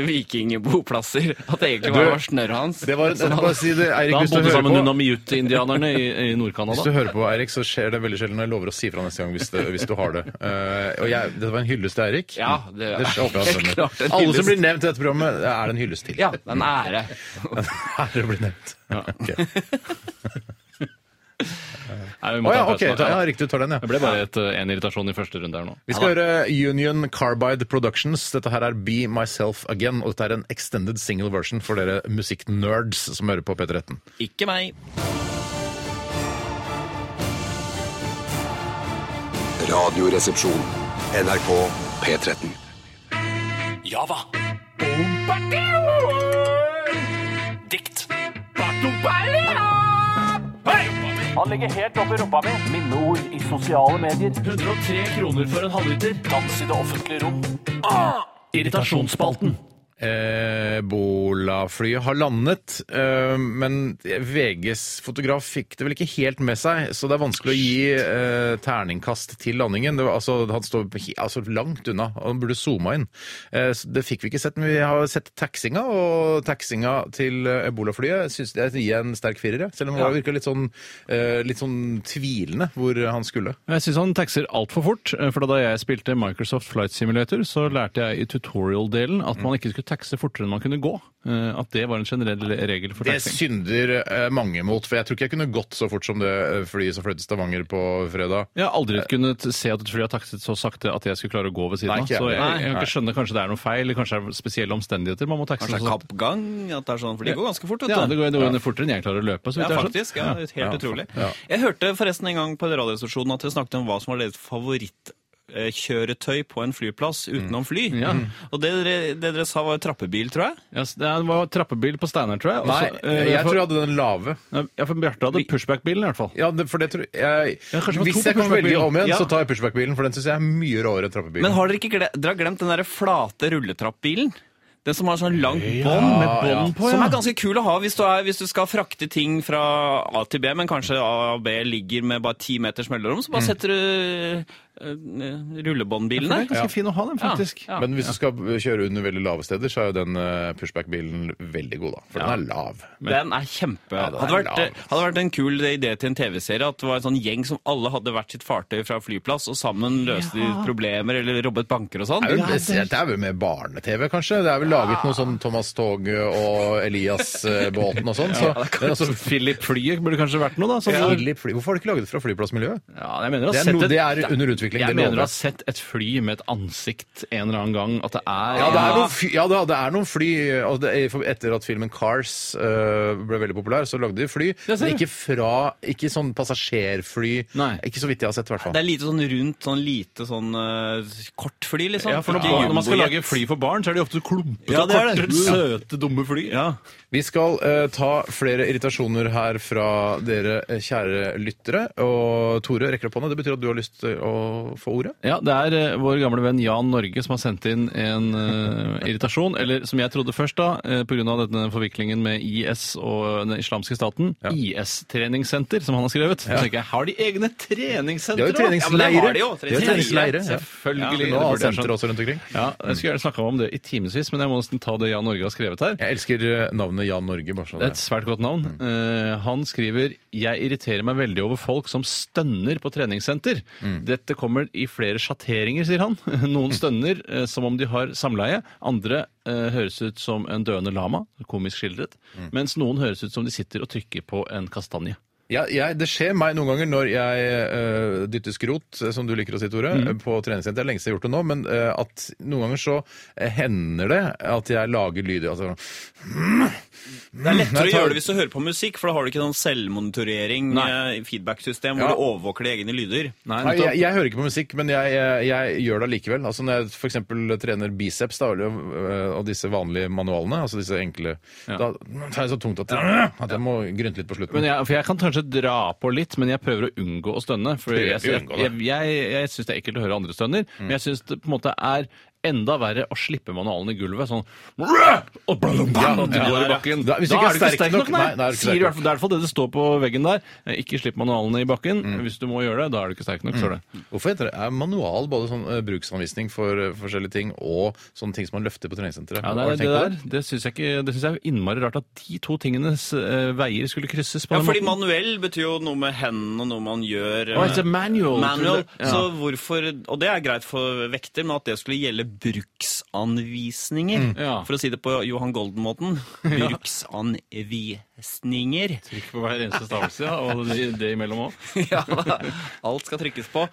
vikingboplasser, at det egentlig
liksom. Du-
bare var snørret hans?
Det var,
Så
jeg må
han-
bare si det, Eirik,
Da han
hvis du
bodde
hører
sammen med
på
Nunamiut-indianerne i,
hvis
i
du
Nord-Canada.
hører på, Eirik, så skjer det veldig sjelden. og Jeg lover å si fra neste gang hvis, det, hvis du har det. Eh, og jeg, Dette var en hyllest til Eirik.
Ja, det er
Det håper jeg han
helt
skjønner.
klart en
Alle som
hyllest.
blir nevnt i dette programmet, er det en hyllest til.
Ja, det er en ære.
Ære å bli nevnt. Ok.
Nei, vi
Å
må
ja,
ta en
ok.
pause nå, ta-
Ja, riktig, du tar den, ja.
Det ble bare et, eh, en irritasjon i første runde her nå.
Vi skal høre Union Carbide Productions. Dette her er Be Myself Again. Og dette er en extended single version for dere musikknerds som hører på P13.
Ikke meg.
Radioresepsjon. NRK P13.
Java. Bombardeo! Dikt. Han legger helt opp i rumpa mi. Minneord i sosiale medier. 103 kroner for en halvliter. Dans i det offentlige rom. Ah! Irritasjonsspalten.
Ebola-flyet har landet, eh, men VGs fotograf fikk det vel ikke helt med seg, så det er vanskelig å gi eh, terningkast til landingen. Det var, altså, han står he- altså, langt unna, og han burde zooma inn. Eh, så det fikk vi ikke sett, men vi har sett taxinga, og taxinga til eh, Ebola-flyet syns jeg gir en sterk firer, jeg, selv om det virka litt, sånn, eh, litt sånn tvilende hvor han skulle.
Jeg syns han taxer altfor fort. eh, For da jeg spilte Microsoft Flight Simulator, så lærte jeg i tutorial-delen at man ikke skulle taxe fortere enn man kunne gå. Eh, At det var en generell regel for
Det
taxing.
synder eh, mange mot, for jeg tror ikke jeg kunne gått så fort som det eh, flyet som fløy til Stavanger på fredag.
Jeg har aldri kunnet se at et fly har takset så sakte at jeg skulle klare å gå ved siden
Nei,
av.
ikke jeg.
Så jeg,
Nei.
jeg kan ikke skjønne kanskje det er noe feil, eller kanskje det er spesielle omstendigheter man må taxe
Kanskje det
så
er
sakte.
kappgang? At det er sånn, for de går ganske fort, vet du.
Ja, det går, det går under fortere enn jeg klarer å løpe. Så vidt
Ja,
jeg har skjønt.
faktisk. Ja, helt utrolig. Jeg hørte forresten en gang på radiostasjonen at dere snakket om hva som var deres favorittkjøretøy på en flyplass utenom fly.
Mm.
Og det dere, det dere sa var trappebil, tror jeg.
Ja, så det var trappebil på Steinar, tror jeg. og
Nei,
så, eh,
jeg
for-
tror jeg hadde den lave.
Ja, for Bjarte hadde pushback-bilen i hvert fall.
Ja, det, for det tror jeg,
Ja, kanskje det var to
Hvis
på
jeg kan velge
pushbackbilen.
om igjen,
Ja.
så tar jeg pushbackbilen, for den syns jeg er mye råere enn trappebilen.
Men har dere ikke gle dere har glemt den der flate rulletrappbilen? Den som har sånn langt bånd.
med bånd på, ja.
Som er ganske kul å ha hvis du, er, hvis du skal frakte ting fra A til B, men kanskje A og B ligger med bare ti meters mellomrom,
Mm.
så bare setter du eh,
Den
rullebåndbilen
er
der.
ganske fin å ha, den, faktisk.
Ja.
Men hvis du skal eh, kjøre under veldig lave steder, så er jo den eh, pushbackbilen veldig god, da. For den er lav.
Den er kjempe...
den er
Hadde vært,
lav.
hadde vært en kul idé til en TV-serie at det var en sånn gjeng som alle hadde hvert sitt fartøy fra flyplass, og sammen løste de problemer eller robbet banker og sånn.
Det er, vel, det er vel med barne-TV, kanskje? Det er vel laget noe sånn Thomas Toge og Elias eh, Båten og sånn. Så, men altså,
Philip Flyet burde kanskje vært noe, da. Sånn,
Philip Fly- Hvorfor har de ikke laget det fra flyplassmiljøet?
Ja, jeg mener, å ha
Det er
sett
noe-
et-
det er under utvikling,
Jeg
det
mener
lover
å ha
jeg.
sett et fly med et ansikt en eller annen gang. At det er
Ja, det er noen fly, ja, da, det er noen fly og det, er- for Etter at filmen Cars eh, ble veldig populær, så lagde de fly.
Ja, ser
Men
du.
ikke fra Ikke sånn passasjerfly.
Nei.
Ikke så vidt jeg har sett, i hvert fall.
Det er lite sånn rundt, sånn lite sånn eh, kort fly, liksom.
Ja, for når,
Ikke
barn- når man skal
jumbojet.
lage fly for barn, så er de ofte klumpete
Ja,
og
det er
korte,
det.
søte, dumme fly. Ja.
Vi skal eh, ta flere irritasjoner her fra dere eh, kjære lyttere. Og Tore rekker opp hånda. Det betyr at du har lyst til å få ordet?
Ja, det er eh, vår gamle venn Jan Norge som har sendt inn en eh, irritasjon, eller som jeg trodde først da, eh, på grunn av denne forviklingen med IS og eh, den islamske staten, IS-treningssenter, som han har skrevet. Så tenker jeg, har de egne
De
treningssentre?
har jo
også?
men det
treningsleire.
har de jo,
har jo
treningsleire.
treningsleire, ja.
Selvfølgelig.
Nå har
Det burde jeg
senter
skjønt.
også rundt omkring.
Ja, jeg skulle gjerne snakka om det i timevis, men jeg må nesten ta det Jan Norge har skrevet her.
Jeg elsker eh, navnet Jan Norge. bare sånn
Det er et svært godt navn. Eh, han skriver Jeg irriterer meg veldig over folk som stønner på treningssenter. Dette kommer i flere sjatteringer, sier han. Noen stønner eh, som om de har samleie. Andre eh, høres ut som en døende lama, komisk skildret. Mens noen høres ut som de sitter og trykker på en kastanje.
Ja, jeg, det skjer meg noen ganger når jeg øh, dytter skrot, som du liker å si, Tore,
Mhm.
på treningssenter. Det er lengst jeg har gjort det nå, men øh, at noen ganger så eh, hender det at jeg lager lyd. Altså,
Det er lettere å
jeg tar-
gjøre det hvis du hører på musikk, for da har du ikke noen selvmonitorering,
Nei.
eh, feedback-system,
Ja.
hvor du overvåker dine egne lyder.
Nei,
Nei,
nettopp.
jeg, jeg hører ikke på musikk, men jeg, jeg, jeg gjør det allikevel. Altså når jeg f.eks. trener biceps da, eller, øh, og disse vanlige manualene, altså disse enkle
Ja.
Da tar jeg så tungt at jeg, at jeg må grynte litt på slutten.
Men jeg, for jeg kan kanskje dra på litt, men jeg prøver å unngå å stønne. For
Prøver
jeg,
å
jeg,
unngå
jeg,
det.
jeg, syns det er ekkelt å høre andre stønner, men jeg syns det på en måte er enda verre å slippe manualen i gulvet. Sånn og blum, bam, og du
Ja,
går i
ja.
bakken.
Da- hvis du ikke er sterk nok,
nei.
nei, da er du ikke
Sier
sterk
i hvert fall- det er i hvert fall det det står på veggen der. Eh, Ikke slipp manualene i bakken.
Mm.
Hvis du må gjøre det, da er du ikke sterk nok. står det.
Hvorfor heter det er manual både sånn eh, bruksanvisning for eh, forskjellige ting og sånne ting som man løfter på treningssenteret?
Ja,
Har
nei,
du tenkt
det
på
der, det syns jeg, ikke- det synes jeg er innmari rart at de to tingenes eh, veier skulle krysses på
Ja,
den
fordi
måten.
manuell betyr jo noe med hendene og noe man gjør. eh,
Å, it's a manual.
manual.
Ja.
Så hvorfor, og det er greit for vekter, men at det skulle gjelde bruksanvisninger,
Mm. Ja.
for å si det på Johan Golden-måten, bruksanvisninger.
Trykk på hver eneste stavelse, ja, og det, det imellom òg.
Ja, alt skal trykkes på.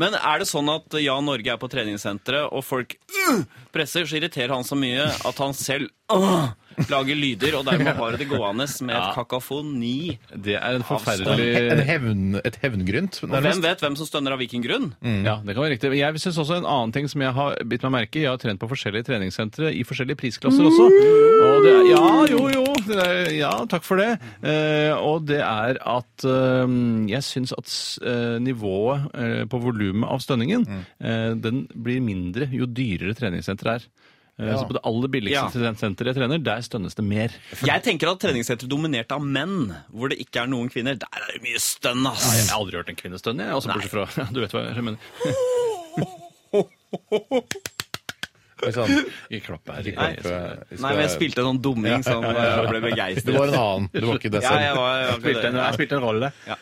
Men er det sånn at Ja Norge er på treningssenteret, og folk øh, presser, så irriterer han så mye at han selv øh, lager lyder, og dermed har det gående med et kakofoni.
Det er en
det? En
forferdelig
hevn, et hevngrynt?
Eh, Og hvem
nærmest?
vet hvem som stønner av hvilken grunn?
Mm. Ja, det kan være riktig. Men Jeg synes også en annen ting som jeg har bitt meg merke i, Jeg har trent på forskjellige treningssentre i forskjellige prisklasser også.
Mm.
Og det er, ja, jo, jo. Det er, ja, takk for det. Eh, og det er at eh, jeg syns at s- eh, nivået eh, på volumet av stønningen,
Mm.
eh, den blir mindre jo dyrere treningssenteret er. Eh, Så på det aller
Ja.
billigste senteret jeg trener, der stønnes det mer.
Jeg tenker at treningssenter dominert av menn, hvor det ikke er noen kvinner, der er det mye stønn,
Jeg
ass!
har aldri hørt en kvinne stønne, jeg. Altså, bortsett fra ja, Du vet hva jeg mener.
Oi, sann.
Ikke klapp her.
Ikke klapp,
Jeg-
eh, vi
Nei,
sånn, skal-
men jeg spilte en sånn dumming som eh, ble begeistret.
Det var en annen. Det var ikke deg
Ja,
selv.
jeg var, jeg var
spilte en, jeg spilte en rolle.
Ja.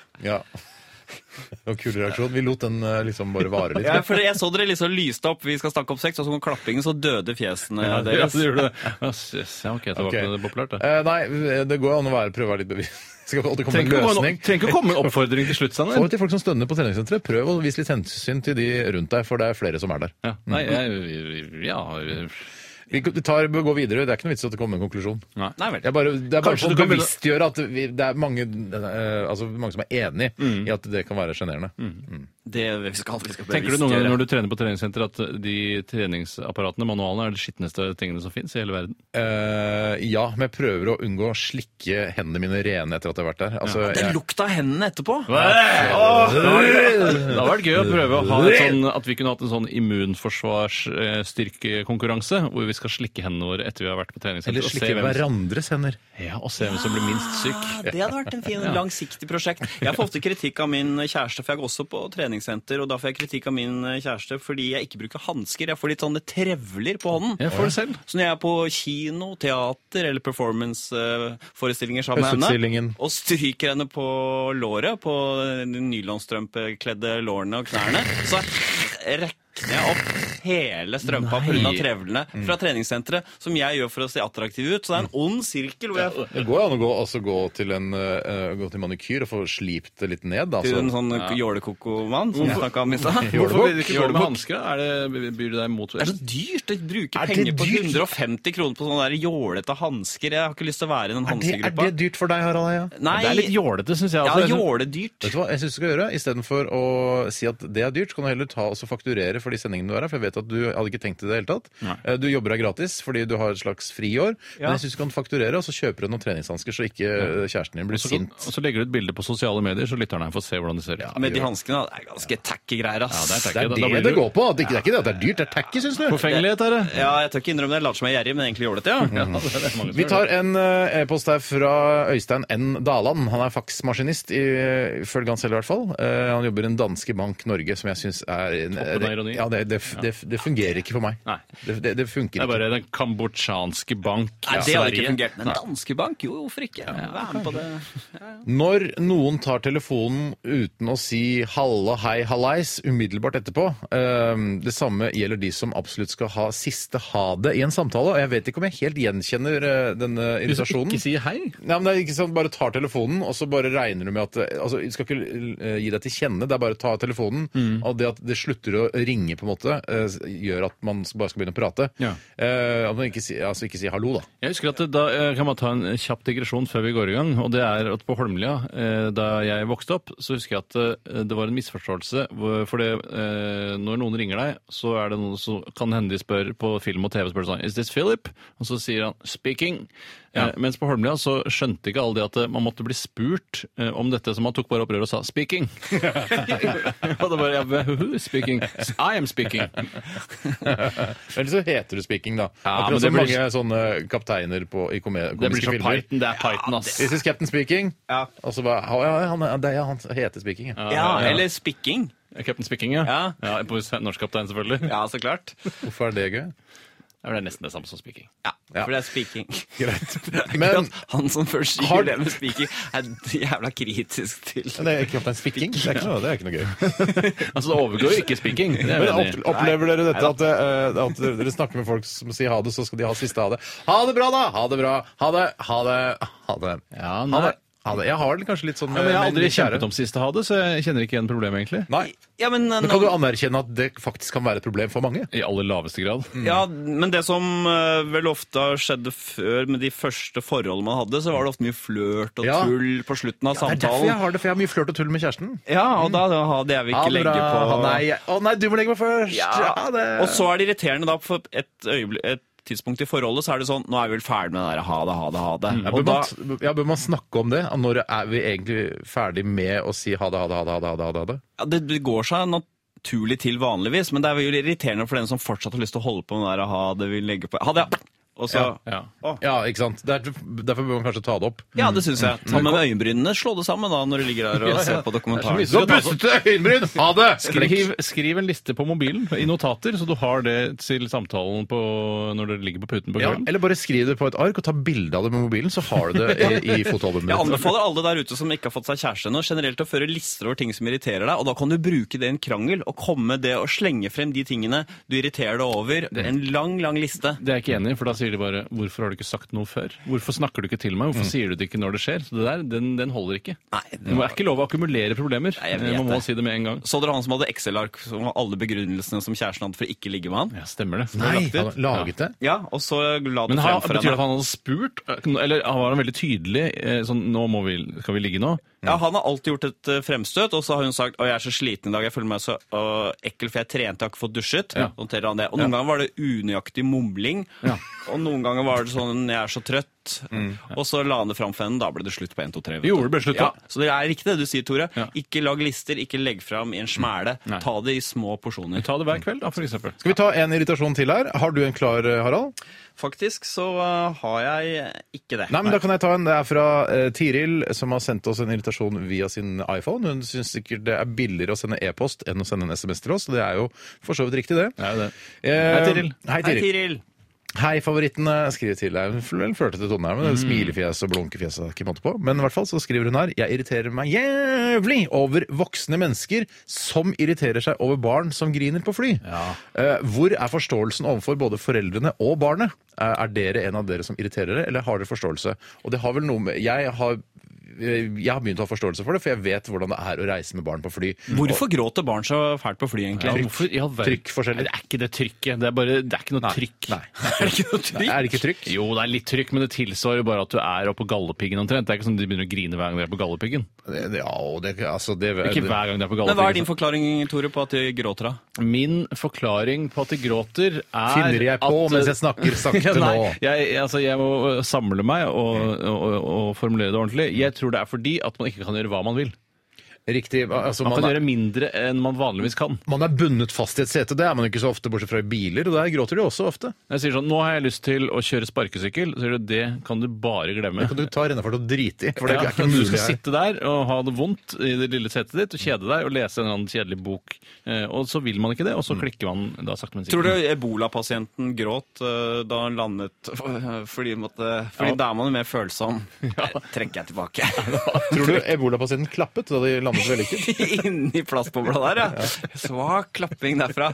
Det var en kul reaksjon. Vi lot den eh, liksom bare vare litt.
Ja, for jeg så dere liksom lyste opp. Vi skal snakke om sex, og så kom klappingen, så døde fjesene
Ja,
deres.
så gjorde du det. Ja, jøss, ja,
Ok.
ok, tilbake til det populært, det.
Eh, nei, det går an å være, prøve å være litt bevisst. Skal vi alltid komme med en løsning?
trenger ikke å komme med en oppfordring til slutt,
Få til folk som stønner på treningssenteret. Prøv å vise litt hensyn til de rundt deg, for det er flere som er der.
Ja, nei, jeg, ja,
Vi vi tar, går videre. Det er ikke noe vits i at det kommer en konklusjon.
nei.
Nei vel.
Jeg bare, det er bare
Kanskje
for
du
å
kan begynne-
bevisstgjøre at vi, det er mange, eh, altså mange som er enig
Mm.
i at det kan være sjenerende.
Det vi skal vi skal
Tenker du noen ganger når du trener på treningssenter at de treningsapparatene, manualene, er de skitneste tingene som finnes i hele verden?
Eh, ja, men jeg prøver å unngå å slikke hendene mine rene etter at jeg har vært der. Altså,
Det
jeg, Ah!
lukta av hendene etterpå!
Det hadde vært gøy å prøve å ha et sånn, at vi kunne hatt en sånn immunforsvarsstyrkekonkurranse hvor vi skal slikke hendene våre etter vi har vært på treningssenter.
eller
og se
slikke
hvem som-
hverandres hender.
Ja, og se hvem som blir minst syk.
Ah, Det hadde vært en fin, langsiktig prosjekt. Jeg får ofte kritikk av min kjæreste, for jeg går også på treningssenter, og da får jeg kritikk av min kjæreste fordi jeg ikke bruker hansker. Jeg får litt sånne trevler på hånden.
Jeg får det selv.
Så når jeg er på kino, teater eller performanceforestillinger sammen med henne,
Høstutstillingen.
og stryker henne på låret, på de nylonstrømpekledde lårene og knærne, så rekner jeg opp hele strømpa pga. trevlene
Mm.
fra treningssenteret, som jeg gjør for å se attraktiv ut. Så det er en ond sirkel hvor jeg
Det går jo an å gå, altså, gå, til en, eh, gå til manikyr og få slipt det litt ned.
til
Altså.
en sånn jålekoko-mann som vi snakka om i stad.
Hvorfor vil
Jålebukk?
du ikke gå med hansker? da? Er det- Byr det deg mot
Det er så dyrt! å bruke
Er det
penger på
dyrt?
150 kroner på sånne der jålete hansker. Jeg har ikke lyst til å være i den
Er det, er
hanskegruppa.
det dyrt for deg, Harald Eia?
Nei,
Det er litt jålete, syns jeg.
ja,
altså. Jeg synes-
jåledyrt.
Vet du hva jeg synes du skal gjøre? Istedenfor å si at det er dyrt, så kan du heller ta og så fakturere for de sendingene du er her. For jeg vet at du hadde ikke tenkt til det i det hele tatt. Eh, Du jobber her gratis fordi du har et slags friår. Men jeg synes du kan fakturere, og så kjøper du noen treningshansker, så ikke eh, kjæresten din blir
Så kan,
sint.
og så legger du ut bilde på sosiale medier, så lytterne her får se hvordan det ser ut.
Med de hanskene, da. Det er ganske tacky greier, ass.
Ja, det er tacky.
Det er
da- da
det
blir
det
du-
går på. Det er ikke det, er ikke det at det er dyrt, det er tacky, syns du.
Forfengelighet er det.
Ja, jeg tør ikke innrømme det. Jeg later som jeg er gjerrig, men egentlig jålete, ja.
Vi tar en eh, e-post her fra Øystein N. Daland. Han er faksmaskinist, i- ifølge han selv i hvert fall. Eh, Han jobber i en danske bank Norge, som jeg syns er en-
Toppen av ironi.
Ja, det, det, det, det fungerer ikke for meg.
Nei.
Det, det, det
Det
funker
er
ikke.
bare den kambodsjanske bank.
Nei,
i
det hadde ikke
Sverige.
fungert. Men
Nei.
danske bank, jo, hvorfor ikke? Vær med på det.
Når noen tar telefonen uten å si halla, hei, hallais umiddelbart etterpå eh, Det samme gjelder de som absolutt skal ha siste ha det i en samtale. Og jeg vet ikke om jeg helt gjenkjenner eh, denne
Hvis du
irritasjonen.
ikke sier hei
Nei, men det er ikke sånn, Bare tar telefonen, og så bare regner du med at eh, altså, Du skal ikke eh, gi deg til kjenne, det er bare å ta telefonen. Og det at det slutter å ringe, på en måte, eh, gjør at man bare skal begynne å prate.
Ja.
Eh, at man ikke, si- altså ikke si hallo, da.
Jeg husker at det- da eh, kan man ta en kjapp digresjon før vi går i gang. og det er at På Holmlia, eh, da jeg vokste opp, så husker jeg at eh, det var en misforståelse. hvor- For det, eh, når noen ringer deg, så er det noen som kan hende de spør på film og TV spør sånn, Is this Philip? Og så sier han 'speaking'. Eh, Mens på Holmlia så skjønte ikke alle det at eh, man måtte bli spurt eh, om dette, så man tok bare opprøret og sa 'speaking'. og da bare ja, «Huhu, 'Speaking'. I am speaking.
Eller så heter det speaking, da.
Ja,
Akkurat
men det
som
blir-
mange sånne kapteiner på, i kome-
Det blir
komiske
så
filmer.
Python. Det er Python, ass.
This is Captain Speaking.
Ja.
Og så bare «Å, ja, han, ja, det er, han heter Speaking, ja.
Ja, eller spikking.
Captain Speaking, ja.
Ja.
ja på norsk kaptein, selvfølgelig.
Ja, så klart.
Hvorfor er det gøy?
Ja, men Det er nesten det samme som speaking.
Ja,
Ja.
for det er spikking.
Greit.
Ikke
Men
at han som først
Har-
gjør det med spiking, er jævla kritisk til
det er ikke Captain Speaking. Det er ikke noe, det er ikke noe gøy.
Altså, det overgår jo ikke speaking. Det er
Men
jeg enig i.
opp, Opplever dere dette at, eh, at dere snakker med folk som sier ha det, så skal de ha siste ha det? Ha det bra, da! Ha det bra! Ha det! Ha det! Ha det.
Ja,
ha
nei.
det. Ha det. Jeg har det kanskje litt sånn
Ja, men jeg har
med-
aldri
med kjære.
kjempet om siste ha det, så jeg kjenner ikke igjen problemet, egentlig.
Nei.
Ja, men, um,
Men kan du anerkjenne at det faktisk kan være et problem for mange?
I aller laveste grad.
Ja, men det som eh, vel ofte har skjedd før med de første forholdene man hadde, så var det ofte mye flørt og
Ja.
tull på slutten av
Det er derfor jeg
samtalen.
har det, for jeg har mye flørt og tull med kjæresten.
Ja, og da, da hadde jeg vil ikke legge på
Ha, nei, jeg- å nei, du må legge meg først!
Ja.
Ha det.
Og så er det irriterende da, for et, øyeblikk, et tidspunkt i forholdet, så er det sånn Nå er vi vel ferdig med det der ha det, ha det, ha det.
Mm.
ja, bør,
Og da,
man, ja, bør man snakke om det? Når er vi egentlig ferdig med å si ha det, ha det, ha det, ha det, ha det, ha det?
ja, det, det går seg naturlig til vanligvis, men det er jo irriterende for den som fortsatt har lyst til å holde på med det der ha det, vil legge på Ha det, ja! Og så
Ja.
Ja, ikke sant? Derfor, derfor bør man kanskje ta det opp.
Ja, det syns
Mm.
jeg. Ta med øyenbrynene. Slå det sammen da, når du ligger der og ser på dokumentaren.
Det er så mye
Så
som
bustete øyenbryn! Ha det!
Skriv, skriv en liste på mobilen i notater, så du har det til samtalen på, når dere ligger på puten på
Ja,
kvelden.
eller bare skriv det på et ark og ta bilde av det med mobilen, så har du det i, i fotoalbumet.
Jeg anbefaler alle der ute som ikke har fått seg kjæreste ennå, generelt å føre lister over ting som irriterer deg, og da kan du bruke det i en krangel, og komme det og slenge frem de tingene du irriterer deg over. En lang, lang liste.
Det er jeg ikke enig i, for da sier de bare 'Hvorfor har du ikke sagt noe før?' 'Hvorfor snakker du ikke til meg?' 'Hvorfor sier du det ikke når det skjer?' Så det der, den, den holder ikke.
Nei, det
Det er ikke lov å akkumulere problemer.
Nei, jeg vet
Man må
det.
si det med en gang.
Så dere han som hadde Excel-ark som var alle begrunnelsene som kjæresten hadde for å ikke ligge med han?
Ja, stemmer det.
Nei,
Det er
han
lagt ut.
laget det?
Ja, og så la du
Men han,
frem for
betyr det
henne.
at han hadde spurt? eh, Eller var han veldig tydelig? eh, Sånn, nå må vi, skal vi ligge nå?
Ja, han har alltid gjort et eh, fremstøt, og så har hun sagt «Å, jeg er så sliten i dag, jeg føler meg så øh, ekkel, for jeg trente, jeg har ikke fått dusjet.
Ja.
Noterer han det. Og noen ganger var det unøyaktig mumling,
Ja.
og noen ganger var det sånn jeg er så trøtt. Og så la han det fram for henne, da ble det slutt på 1, 2, 3. vet
Vi
du.
gjorde det ble slutt,
ja,
da.
Så det er riktig det du sier, Tore.
Ja. Mm,
Ikke lag lister, ikke legg fram i en smæle.
Nei.
Ta det i små porsjoner.
Ta det hver kveld, da, for eksempel.
Skal vi ta en irritasjon til her? Har du en klar, eh, Harald?
Faktisk så øh, har jeg eh, ikke det.
Nei, men da kan jeg ta en. Det er fra eh, Tiril, som har sendt oss en irritasjon via sin iPhone. Hun syns sikkert det er billigere å sende e-post enn å sende en SMS til oss, og det er jo for så vidt riktig, det.
Det er jo det.
Eh,
Hei, Tiril.
Hei,
Hei,
Tiril.
Tiril.
Hei, favorittene, skriver til deg. Hun fl- Hun flørtete tone her, men
Mm.
det er smilefjes og blunkefjes er ikke måte på. Men i hvert fall så skriver hun her Jeg irriterer meg jævlig over voksne mennesker som irriterer seg over barn som griner på fly. Eh, hvor er forståelsen overfor både foreldrene og barnet? Eh, er dere en av dere som irriterer dere, eller har dere forståelse? Og det har vel noe med Jeg har eh, jeg har begynt å ha forståelse for det, for jeg vet hvordan det er å reise med barn på fly.
Hvorfor gråter barn så fælt på fly, egentlig?
Ja, hvorfor i all verden-
Trykkforskjeller.
Nei, Det er ikke det trykket. Det er, bare, det er ikke noe trykk.
Nei.
Er det ikke noe trykk?
Er det ikke trykk?
Jo, det er litt trykk, men det tilsvarer jo bare at du er oppe på Galdhøpiggen omtrent. Det er ikke sånn at de begynner å grine hver gang de er på Galdhøpiggen.
Det- det- Ja, det, altså, det,
Ikke hver gang de er på
Men hva er din
Galdhøpiggen.
forklaring, Tore, på at de gråter da?
Min forklaring på at de gråter, er
Finner jeg på
at-
mens jeg snakker sakte
Ja, nei,
nå?
Jeg, altså, jeg må øh, samle meg og, og, og, og formulere det ordentlig. Jeg tror det er fordi at man ikke kan gjøre hva man vil.
Riktig. Altså,
Man
man,
kan
er,
gjøre mindre enn man vanligvis kan.
man er bundet fast i et sete. Det er man ikke så ofte, bortsett fra i biler. Og der gråter de også ofte.
Jeg sier sånn, nå har jeg lyst til å kjøre sparkesykkel, så sier du det kan du bare glemme.
Det kan du ta rennefart og drite i. For det
Ja,
er ikke
du
mulig
skal
her.
sitte der og ha det vondt i det lille setet ditt og kjede deg og lese en eller annen kjedelig bok. Eh, Og så vil man ikke det, og så klikker man da sakte, men
Tror du
sikkert.
ebolapasienten gråt eh, da han landet f- fordi, måtte, fordi da er man jo mer følsom? Eh, Trekker jeg tilbake.
Tror du ebolapasienten klappet da de landet vellykket?
Inni plastbobla der, ja. Svak klapping derfra.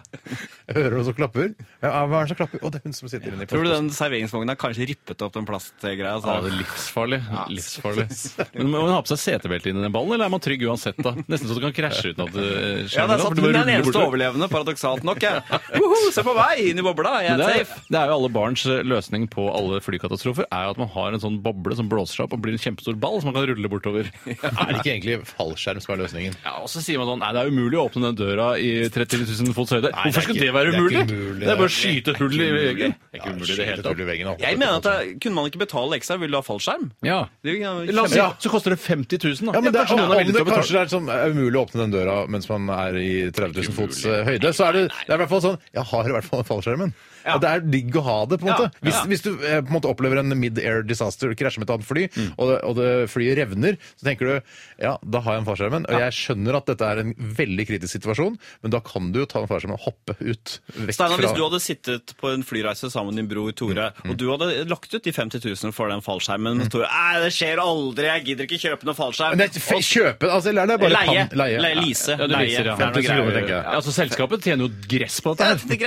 Jeg hører noen som klapper. Ja, hva er det som klapper? Å, det er hun som sitter inni
Tror du den serveringsvognen har kanskje rippet opp den plastgreia?
Ja, det
Så.
er livsfarlig. livsfarlig. Men Må man ha på seg setebelte inn i den ballen, eller er man trygg uansett? da? Nesten så du kan krasje uten at det skjer
Ja, det er
noe,
sant.
for
Hun er den
du bare ruller
eneste
bortover.
overlevende, paradoksalt nok. jeg. Woho, se på meg! Inn i bobla! Jeg
Men det,
er
er,
safe.
det er jo alle barns eh, løsning på alle flykatastrofer, er jo at man har en sånn boble som blåser seg opp og blir en kjempestor ball som man kan rulle bortover.
Er det ikke egentlig fallskjerm som er løsningen?
Ja, og så sier man sånn Nei, det er umulig å åpne den døra i 30 000 fots
Nei,
høyde.
det er
Hvorfor skal
ikke-
det være
det er
umulig?
ikke umulig,
Det er bare å
det.
skyte et hull i veggen. Det er ikke umulig i det hele tatt.
Jeg mener at det, Kunne man ikke betale ekstra? Vil du ha fallskjerm?
Ja.
Det er jo
La oss si,
kjempe-
så koster det 50 000, da.
Ja, men det er,
kanskje noen er
om
villig
det
til å
kanskje
betale.
det er sånn, er umulig å åpne den døra mens man er i 30 000 fots eh, høyde, så er det, det er i hvert fall sånn Jeg har i hvert fall fallskjermen. Ja. Det er digg å ha det, på en måte. Hvis, hvis du eh, på en måte opplever en mid-air disaster, krasjer med et annet fly,
Mm.
og, det, og det flyet revner, så tenker du ja, da har jeg en fallskjermen. Og jeg skjønner at dette er en veldig kritisk situasjon, men da kan du jo ta en fallskjerm og hoppe ut. Vekk
Steinar,
fra
hvis du hadde sittet på en flyreise sammen med din bror Tore, og du hadde lagt ut de 50 000 for den fallskjermen, mens Tore Nei, det skjer aldri, jeg gidder ikke kjøpe noen fallskjerm.
Nei, f- kjøpe altså, Eller er det bare
leie.
Kan, leie.
Leie, lease.
Ja, det
leie.
viser,
Det
ja.
er noe
50 000 kroner,
greier.
tenker jeg.
Ja, altså Selskapet tjener jo gress på
Det
dette.
er
her.
til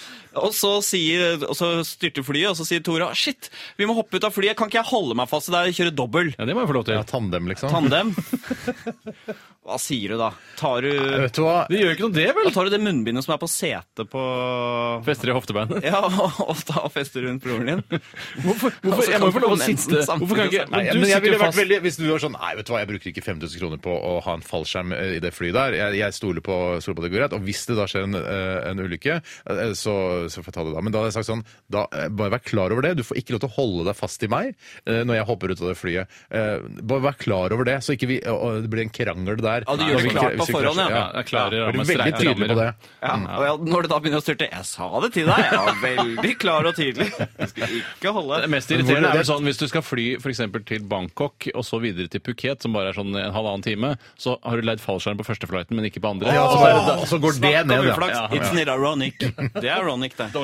gress. Og, så sier, og så styrter flyet, og så sier Tore shit, vi må hoppe ut av flyet. Kan ikke jeg holde meg fast der og kjøre dobbel?
Ja, det må jeg få lov
Ja,
til.
tandem, liksom.
Tandem? Hva sier du da? Tar du,
Vet du hva?
Det gjør ikke noe, det, vel?
da tar du det munnbindet som er på setet på
Fester i hoftebeinet.
Ja, og, og ta og fester rundt broren din?
Hvorfor,
Og så
hvorfor, jeg
kan
må jo få lov å
komponenten
sitte Hvorfor kan
samtidig
ikke
også.
Nei,
Men
men jeg
du sitter
ville
jo
vært
fast.
veldig, Hvis du var sånn Nei, vet du hva, jeg bruker ikke 5000 kroner på å ha en fallskjerm eh, i det flyet der. Jeg, jeg stoler på, stoler på det går greit. Og hvis det da skjer en, eh, en ulykke, eh, så, så får jeg ta det da. Men da hadde jeg sagt sånn da, eh, Bare vær klar over det. Du får ikke lov til å holde deg fast i meg eh, når jeg hopper ut av det flyet. Eh, Bare vær klar over det, så ikke vi, og- og det blir en krangel der.
Ja, du
Nei,
gjør det
hvis vi-
klart
hvis
på
vi
forhånd,
krasjer.
ja.
Ja, det er klare
Ja,
rammer,
Veldig
streite
tydelig på
rammer.
det.
Ja,
Mm.
og ja, når det da begynner å styrte Jeg sa det til deg! Jeg var veldig klar og tydelig. Du skulle ikke holde
Det mest irriterende er vel sånn hvis du skal fly for eksempel til Bangkok og så videre til Phuket, som bare er sånn en halvannen time, så har du leid fallskjerm på første flighten, men ikke på andre.
Ja, så bare- da- og så går det
Snakk om
ned, ja.
uflaks.
ja.
It's not ironic. Det er ironic, det.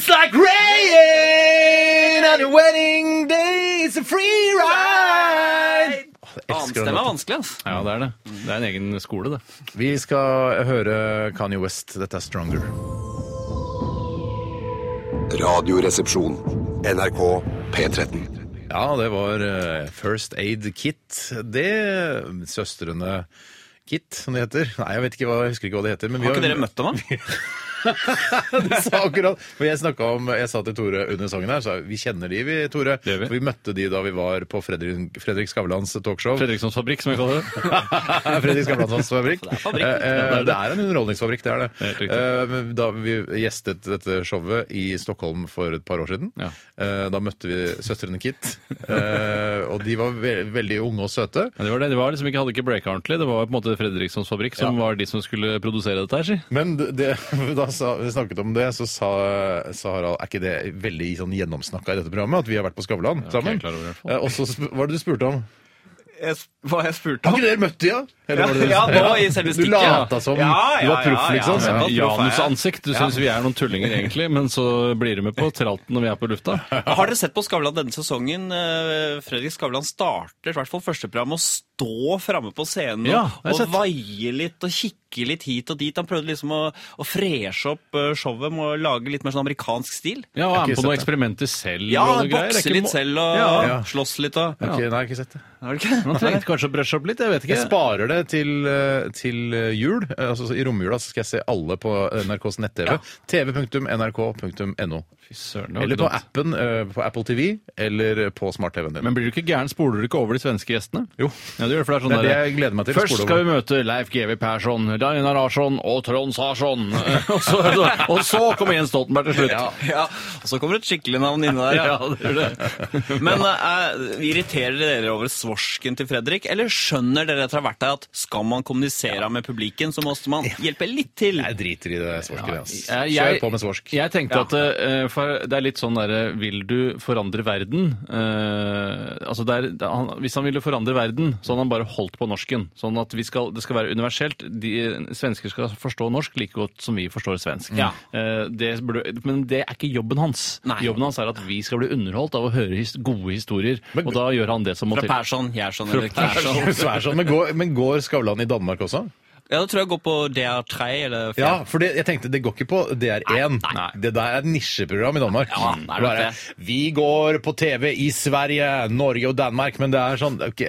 It's like rain on your wedding day, it's a free ride!
Annenstemme er vanskelig, ass.
Ja, det er det. Det er en egen skole, det.
Vi skal høre Kanye West. Dette er Stronger.
Radioresepsjon. NRK P13.
Ja, det var eh, First Aid Kit. Det Søstrene Kit, som det heter. Nei, jeg vet ikke hva, jeg husker ikke hva det heter. Men vi
Har ikke dere møtt dem, da?
det? Sa akkurat, for jeg, snakket om, jeg sa til Tore under sangen her, så vi kjenner de, vi, Tore.
gjør vi.
For vi møtte de da vi var på Fredrik, Fredrik Skavlans talkshow.
Fredrikssons fabrikk, som jeg kaller det.
Fredrik Skavlansons fabrikk.
Det er fabrikk.
Eh, eh, det er en underholdningsfabrikk, det er det.
Helt riktig.
Eh, men Da vi gjestet dette showet i Stockholm for et par år siden,
Ja.
eh, da møtte vi søstrene Kit. eh, Og de var ve veldig unge og søte.
Ja, det var det. De var liksom ikke, hadde ikke breaka ordentlig. Det var på en måte Fredrikssons fabrikk som var de som skulle produsere dette her, si.
Men det, det- da sa, vi snakket om det, så sa, sa Harald Er ikke det veldig sånn gjennomsnakka i dette programmet? At vi har vært på Skavlan sammen?
jeg er klar over det, i hvert fall.
Eh, Og så sp- Hva er det du spurte om?
Jeg, hva jeg spurte
Har ikke dere møtt de, da? Eller var det-
Ja, nå i selve
Du
stikket, ja.
lata som
Ja,
du var
ja,
proff,
ja, ja.
liksom.
Ja.
Janusansikt. Du syns vi er noen tullinger egentlig, men så blir du med på tralten når vi er på lufta.
Har dere sett på Skavlan denne sesongen? Eh, Fredrik Skavlan starter i hvert fall første program med å stå framme på scenen
Ja,
og-
jeg har sett.
og vaie litt og kikke litt hit og dit. Han prøvde liksom å, å freshe opp eh, showet med å lage litt mer sånn amerikansk stil.
Ja, og
Jeg
er
har ikke
med på noen
sett
eksperimenter selv.
Ja,
og noe greier. Det er
bokse
ikke
litt
må-
selv og
Ja.
Ja.
slåss litt og
Ok, nei, jeg har ikke sett det.
Har du ikke?
Man trengte kanskje å brushe opp litt, jeg vet ikke.
Jeg sparer det til, eh, til eh, jul. Eh, Altså, I romjula så skal jeg se alle på eh, NRKs nett-TV. tv.nrk.no.
Fy søren, det var
Eller
ikke
på
dumt.
appen eh, på Apple TV eller på smart-TV-en din.
Men blir du ikke gæren? Spoler du ikke over de svenske gjestene?
Jo.
Ja, du gjør det, for det er sånn
Det er det
der-
jeg gleder meg til, å
Først
spole
skal
over.
vi møte Leif G.V. Persson, Dagnar Larsson og Trond Sarsson. og, så, og så kommer Jens Stoltenberg til slutt.
Ja. Og så kommer det et skikkelig navn inni der.
Ja, det gjør det.
Men eh, irriterer dere over svorsken til Fredrik, eller skjønner dere etter å ha vært der at Skal man kommunisere med publikken, så måtte man hjelpe litt til.
Jeg driter i det svorsket. ass.
Ja,
Kjør på med svorsk.
Jeg tenkte at eh, for det er litt sånn derre Vil du forandre verden? Eh, altså det er- det er- han, hvis han ville forandre verden, så hadde han bare holdt på norsken. Sånn at vi skal, det skal være universelt. De, svensker skal forstå norsk like godt som vi forstår svensk.
Ja.
Eh, det burde, men det er ikke jobben hans.
Nei.
Jobben hans er at vi skal bli underholdt av å høre his, gode historier. og da gjør han det som må
Fra
til.
Persson, Gjerson eller
Fra
Kjærson.
Så er det sånn, men, går, men går Skavlan i Danmark også?
Ja, da tror jeg jeg går på DR3 eller 4.
Ja, for det, jeg tenkte det går ikke på DR1.
nei.
Det der er et nisjeprogram i Danmark.
Ja, det er nok
Bare, Vi går på TV i Sverige, Norge og Danmark, men det er sånn Ok,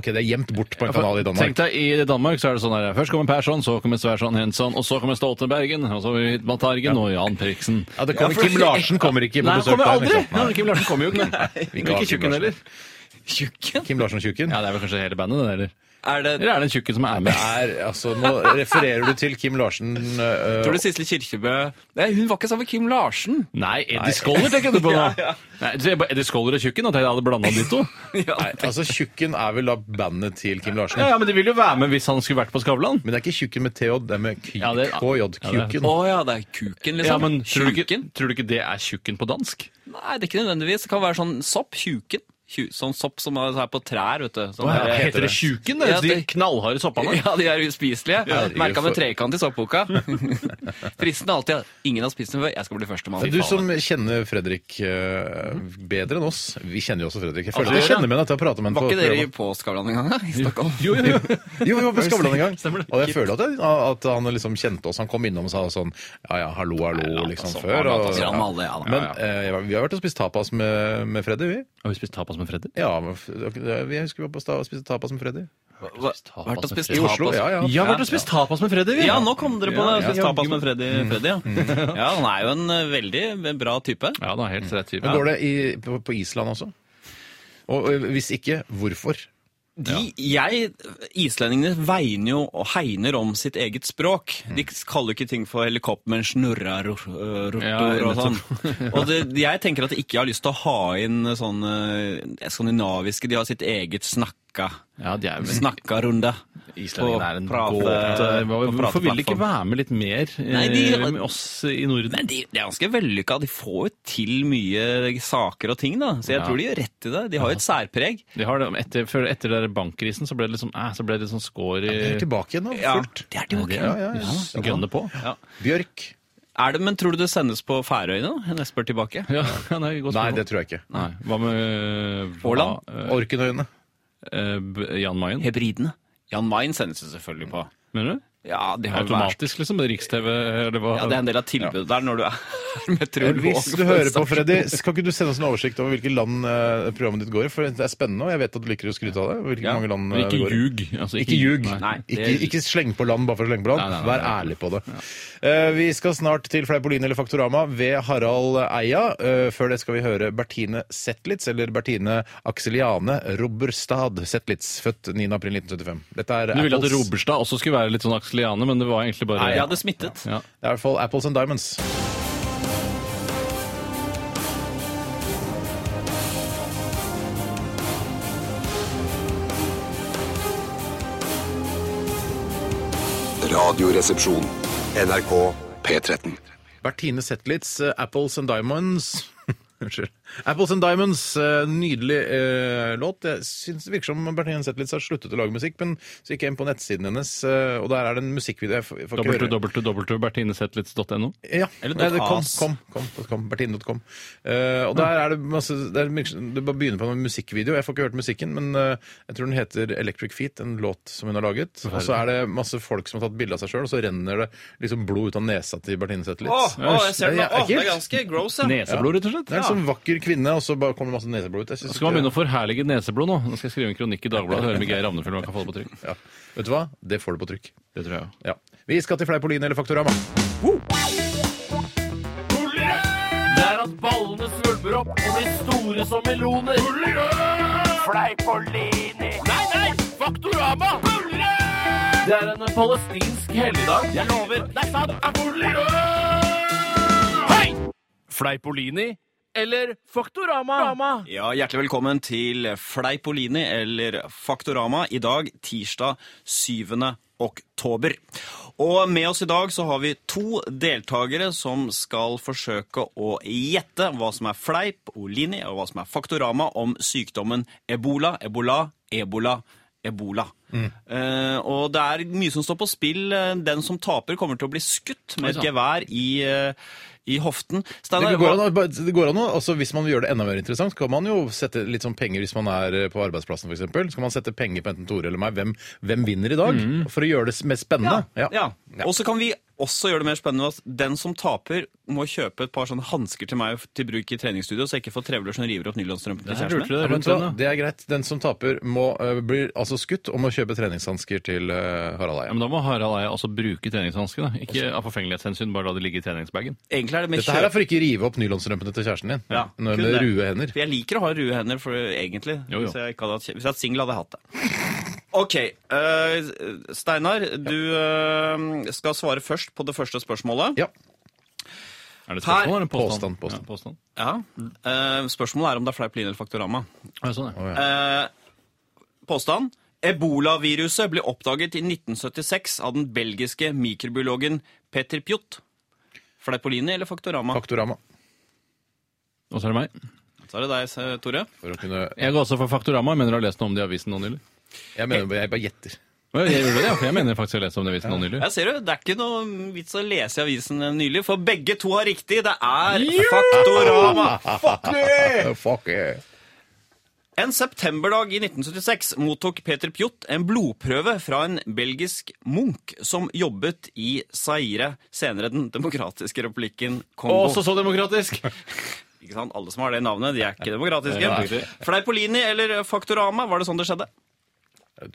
ok, det er gjemt bort på en kanal i
Tenk
Danmark.
deg, I Danmark så er det sånn her Først kommer Persson, så kommer Sverson Henson, og så kommer Stoltenbergen, og så Hitman Targen og Jan Priksen.
Ja, det kommer, Kim Larsen kommer ikke på
Nei, han
besøk
kommer
der.
aldri!
liksom. Nei.
Kim Larsen kommer jo ikke.
Vi kan ha Kim
Ikke tjukken
Larsen.
heller.
Tjukken?
Kim Larsen-tjukken.
Ja, det er vel kanskje hele bandet, det der.
Er det
Eller er det en tjukken som er med?
Er, altså, nå refererer du til Kim Larsen øh,
Tror du Sisle Kirkebø Nei, hun var ikke sammen med Kim Larsen.
Nei, Eddie Scholler tenker du på nå! Nei, så jeg bare- Eddie Scholler og Tjukken, at jeg hadde blanda de to?
Ja.
Nei, altså Tjukken er vel da bandet til Kim Larsen.
Ja, ja, Men de ville jo være med hvis han skulle vært på Skavlan.
Men det er ikke Tjukken med TJ, det er med KJ.
Ja, det er- ja, det er-
Tjukken.
Å ja, det er kuken, liksom.
Ja, men tror du, ikke,
Tjuken?
tror du ikke det er Tjukken på dansk?
Nei, det er ikke nødvendigvis. Det kan være sånn sopp. Tjuken. Tju- Sånn sopp som er er på trær, vet du. Sånn,
Hva
der-
heter det Tjukken?
Ja,
De
det-
knallharde soppene?
Ja, de er uspiselige.
Herregud,
Merka med
for-
trekant i soppboka. Fristen er alltid at ingen har spist den før. Jeg skal bli førstemann.
Men du som kjenner Fredrik eh, bedre enn oss Vi kjenner jo også Fredrik. Jeg føler at
Ja, det
jeg
gjør jeg.
kjenner med deg at jeg har pratet med ham
Var
på
ikke dere
programmet.
på Skavlan en gang? da, I Stockholm?
Jo, jo, jo.
Jo, vi var på Skavlan en gang.
Stemmer det.
Og jeg føler at, jeg, at han liksom kjente oss. Han kom innom og sa sånn ja ja, hallo, hallo, liksom
som
før.
barn,
og-
lata som
ja.
alle, ja da.
Men
Ja,
eh, vi har vært og spist tapas med, med Freddy, vi.
Har vi spist tapas med Freddy?
Ja, men f- vi husker vi var på sta- og spiste tapas med Freddy.
Hva- Vært og spist
I Oslo, ja ja.
Ja, vi har vært og spist tapas med Freddy, vi.
Ja, nå kom dere på det.
Ja,
Spist
ja. Mm.
tapas med Freddy. Freddy ja. ja, han er jo en eh, veldig bra type.
Ja, det er helt rett type.
Men går det i, på, på Island også? Og eh, hvis ikke, hvorfor?
De, jeg, Islendingene vegner jo og hegner om sitt eget språk.
Mm.
De kaller jo ikke ting for helikopteren, snurrer, rotor
Ja,
og sånn. Og det, jeg tenker at de ikke har lyst til å ha inn sånne eh, skandinaviske De har sitt eget snakka.
Ja, de er jo
Snakkarunde.
Islendingene er en
På prate-
gåte.
på
Hvorfor vil de ikke
prateplattform.
være med litt mer eh,
Nei, de-
med oss i Norden?
Men de, de er ganske vellykka. De får jo til mye saker og ting, da. Så jeg
Ja.
tror de gjør rett i det. De har jo et særpreg.
De har det, etter, før, etter den der bankkrisen så ble det liksom, eh, så ble det sånn skår i
Vi er tilbake igjen nå,
Ja,
fullt.
det er tilbake.
Ja, ja, ja.
s- Gønne på. Ja.
Bjørk.
Er det, men tror du det sendes på Færøyene? da? Jeg spør tilbake.
Ja, nei, godt
Nei,
spørsmål.
det tror jeg ikke.
Nei. Hva med eh, hva-
Åland?
eh,
Orkenøyene.
eh, B- Jan Mayen,
Hebridene. Jan Mayen sendes det selvfølgelig på.
mener du?
Ja, det har jo vært
Automatisk, liksom? Riks-TV? eller hva?
ja, Det er en del av tilbudet der når du er meteorolog.
Hvis du hører på, Freddy, kan ikke du sende oss en oversikt over hvilke land eh, programmet ditt går i? For det er spennende, og jeg vet at du liker å skryte av det. Hvilke mange land
Men
eh, det
Ikke
går i.
ljug. Altså,
Ikke ljug.
Nei, det-
Ikke, ikke sleng på land bare for å slenge på land.
Nei, nei, nei,
Vær
nei.
ærlig på det. Eh, vi skal snart til Fleipolini eller Faktorama ved Harald Eia. Eh, før det skal vi høre Bertine Zetlitz, eller Bertine Axeliane Roberstad Zetlitz, født 9.4.1975. Dette er
Du ville at
Apples-
Roberstad også skulle være litt sånn Axeliane, men det var egentlig bare
Jeg hadde smittet.
Ja.
Det er i hvert fall Apples and Diamonds.
Radioresepsjon. NRK P13.
Bertine Zetlitz, eh, Apples and Diamonds. Unnskyld. Apples and Diamonds, eh, nydelig eh, låt. Jeg synes Det virker som Bertine Zetlitz har sluttet å lage musikk, men så gikk jeg inn på nettsiden hennes, eh, og der er det en musikkvideo. Jeg får- jeg får ikke høre-
www.bertinesetlitz.no.
Ja.
Eller
Nei, det kom,
.as.
kom, kom, .com, Bertine.com. Eh, og der er det masse det er, Du bare begynner på en musikkvideo. Jeg får ikke hørt musikken, men eh, jeg tror den heter Electric Feet, en låt som hun har laget. Og så er det masse folk som har tatt bilde av seg sjøl, og så renner det liksom blod ut av nesa til Bertine
Å,
Zetlitz.
å, jeg ser den. Å, det
Det er
er
ekkelt.
ganske gross, ja.
Neseblod, rett og slett.
Det er en sånn vakker kvinne, og så bare kommer det masse neseblod ut. Jeg synes
Skal man
ikke-
begynne å forherlige neseblod nå? Nå skal jeg skrive en kronikk i Dagbladet og høre med Geir Ravnefjell om han kan få det på trykk.
ja. Vet du hva? Det får du på trykk.
Det tror jeg også.
Ja. Vi skal til Fleipolini eller Faktorama.
Det er at ballene svulmer opp og blir store som meloner. Fleipolini. Nei, nei! Faktorama! Det er en palestinsk helligdag. Jeg lover. Det er sant. Hei! Fleipolini
eller Faktorama.
Ja, Hjertelig velkommen til Fleipolini, eller Faktorama, i dag, tirsdag 7. oktober. Og med oss i dag så har vi to deltakere som skal forsøke å gjette hva som er fleip, Olini, og hva som er Faktorama om sykdommen ebola, ebola, ebola. Ebola. Eh, og det er mye som står på spill. Den som taper, kommer til å bli skutt med et gevær i, eh, i hoften. Steinar,
Det går
hva-
an, å- bare- det går an å, altså Hvis man vil gjøre det enda mer interessant, så kan man jo sette litt sånn penger hvis man er eh, på arbeidsplassen f.eks. Så kan man sette penger på enten Tore eller meg. Hvem, hvem vinner i dag? For å gjøre det s- mer spennende.
Ja. Og så kan vi også gjøre det mer spennende ved at den som taper, må kjøpe et par sånne hansker til meg til bruk i treningsstudio, så jeg ikke får trevler som river opp nylonstrømpen til kjæresten
Jeg lurte
min.
det
Ja, men
rundt sånn,
så,
den, da.
det er greit. Den som taper, må, eh, blir altså skutt og må kjøpe treningshansker til eh, Harald
Ja,
Eia.
men da må Harald Eia også bruke treningshanskene. Ikke av forfengelighetshensyn, bare la det ligge i treningsbagen.
Egentlig er det med
Dette her er
kjøp.
for ikke å rive opp nylonstrømpene til kjæresten din
Ja,
Når-
kun
med
det.
rue hender.
For jeg liker å ha røde hender, for egentlig.
Jo, jo.
Hvis jeg ikke hadde hatt, hvis jeg hadde singel, hadde jeg hatt det. OK. eh, Steinar, du eh, skal svare først på det første spørsmålet.
Ja.
Er det et
Per-
spørsmål eller en påstand?
Påstand, påstand.
Ja, påstand.
Ja. Eh, spørsmålet er om det er fleip line eller Faktorama.
Ja, sånn, ja.
Eh, påstand. Ebolaviruset ble oppdaget i 1976 av den belgiske mikrobiologen Peter Pjot. Fleipolini eller Faktorama?
Faktorama.
Og så er det meg.
Så er det deg, eh, Tore.
For å kunne,
Jeg går også for Faktorama. Jeg mener du har lest noe om det i avisen nå nylig.
jeg mener jeg bare gjetter.
Å, Jeg gjorde det, ja, for jeg mener faktisk jeg har lest om det i avisen nå nylig.
Jeg ser du, Det er ikke noe vits å lese i avisen eh, nylig, for begge to har riktig. Det er Faktorama!
Oh, fuck yeah.
En septemberdag i 1976 mottok Peter Pjot en blodprøve fra en belgisk munk som jobbet i Zaire, senere Den demokratiske republikken
Å,
Kongo.
så så demokratisk!
Ikke sant? Alle som har det navnet, de er ikke demokratiske.
Nei, det er riktig.
Fleipolini eller Faktorama, var det sånn det skjedde?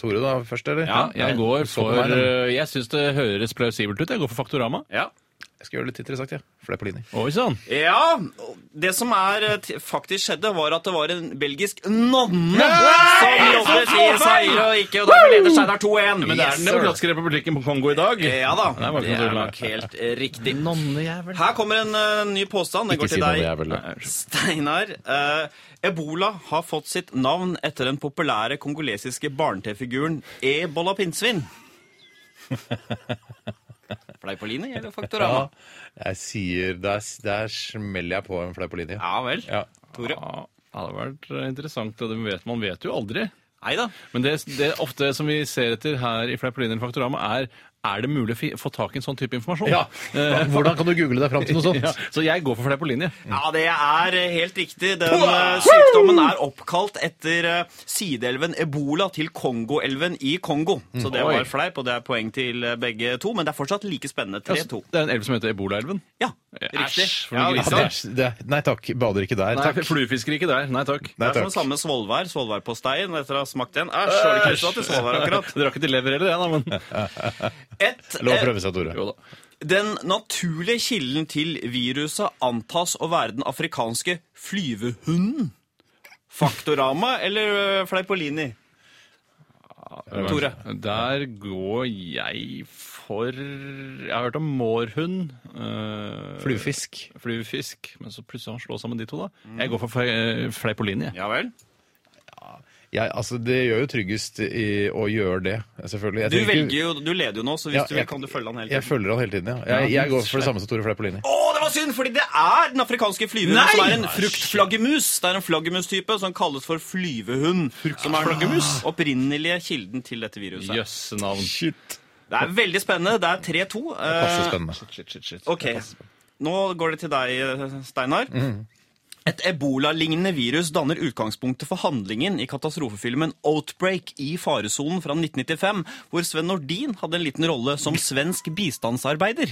Tore da først, eller?
Ja, jeg går
Så på
for
meg, den.
eh, Jeg syns det høres plausibelt ut. Jeg går for Faktorama.
Ja.
Jeg skal gjøre det litt interessant, jeg. Ja. Fleipolini.
Oi sånn. sann!
Ja, Det som er eh, t- faktisk skjedde, var at det var en belgisk nonne som jobbet i Zaire og ikke, og derfor leder Steinar 2-1.
Men det er
Yes,
Den
sir.
demokratiske republikken på Kongo i dag.
Ja da.
Nei, var
Det
ikke noe
er
tull med.
nok helt eh, riktig.
Nonnejævel.
Her kommer en eh, ny påstand. Den
Ikke
går
si
til
noe
deg.
jævel. da.
Steinar, eh, ebola har fått sitt navn etter den populære kongolesiske barne-TV-figuren Ebola Pinnsvin. Fleipolini eller Faktorama?
Ja, jeg sier Der, der smeller jeg på en Fleipolini.
Ja vel.
Ja.
Tore?
Ja, det hadde vært eh, interessant. og det vet, Man vet jo aldri.
Nei da.
Men det, det er ofte som vi ser etter her i Fleipolini eller Faktorama, er er det mulig å fi- få tak i en sånn type informasjon.
Ja.
Eh,
Hvordan kan du google deg fram til noe sånt?
ja, så jeg går for Fleipolini.
Ja, det er eh, helt riktig. Den eh, sykdommen er oppkalt etter eh, sideelven Ebola til Kongoelven i Kongo. Så det
Oi.
var fleip, og det er poeng til eh, begge to, men det er fortsatt like spennende.
Ja, så
3-2.
Det er en elv som heter Ebolaelven.
Ja,
Æsj,
riktig.
for
Ja,
noen
ikke
Ja,
griser.
sant?
det er, det er, nei takk. Bader ikke der.
Nei,
Takk.
Fluefisker ikke der. Nei takk.
Nei
Det er som det
takk.
samme med svolvær. Svolværposteien etter å ha smakt den. Æsj, var det ikke lyst til svolvær akkurat?
Det rakk ikke lever heller, det. da, Men...
Et,
Lov å
eh,
prøve seg, Tore.
Jo da.
den naturlige kilden til viruset antas å være den afrikanske flyvehunden. Faktorama eller eh, Fleipolini? Tore.
Der går jeg for Jeg har hørt om mårhund. eh,
Fluefisk.
Fluefisk. Men så plutselig han slår sammen de to, da. Jeg går for eh, fe- Fleipolini. jeg.
Ja vel.
Jeg, altså, det gjør jo tryggest i, å gjøre det, selvfølgelig. Jeg
Du,
tenker-
velger jo, du leder jo nå, så hvis
Ja,
du vil, kan du følge han hele
Jeg
tiden.
følger han hele tiden, ja. Jeg, jeg går for det samme som Tore Fleipolini.
Å, det var synd, fordi det er den afrikanske flyvehunden som er en fruktflaggermus. Det er en flaggermustype som kalles for flyvehund. Som er den opprinnelige kilden til dette viruset.
Jøss navn.
Shit.
Det er veldig spennende. Det er 3-2.
Passe
Eh,
spennende.
Shit, shit, shit.
ok, Nå går det til deg, eh, Steinar.
Mhm.
Et ebolalignende virus danner utgangspunktet for handlingen i katastrofefilmen Outbreak i faresonen fra 1995, hvor Sven Nordin hadde en liten rolle som svensk bistandsarbeider.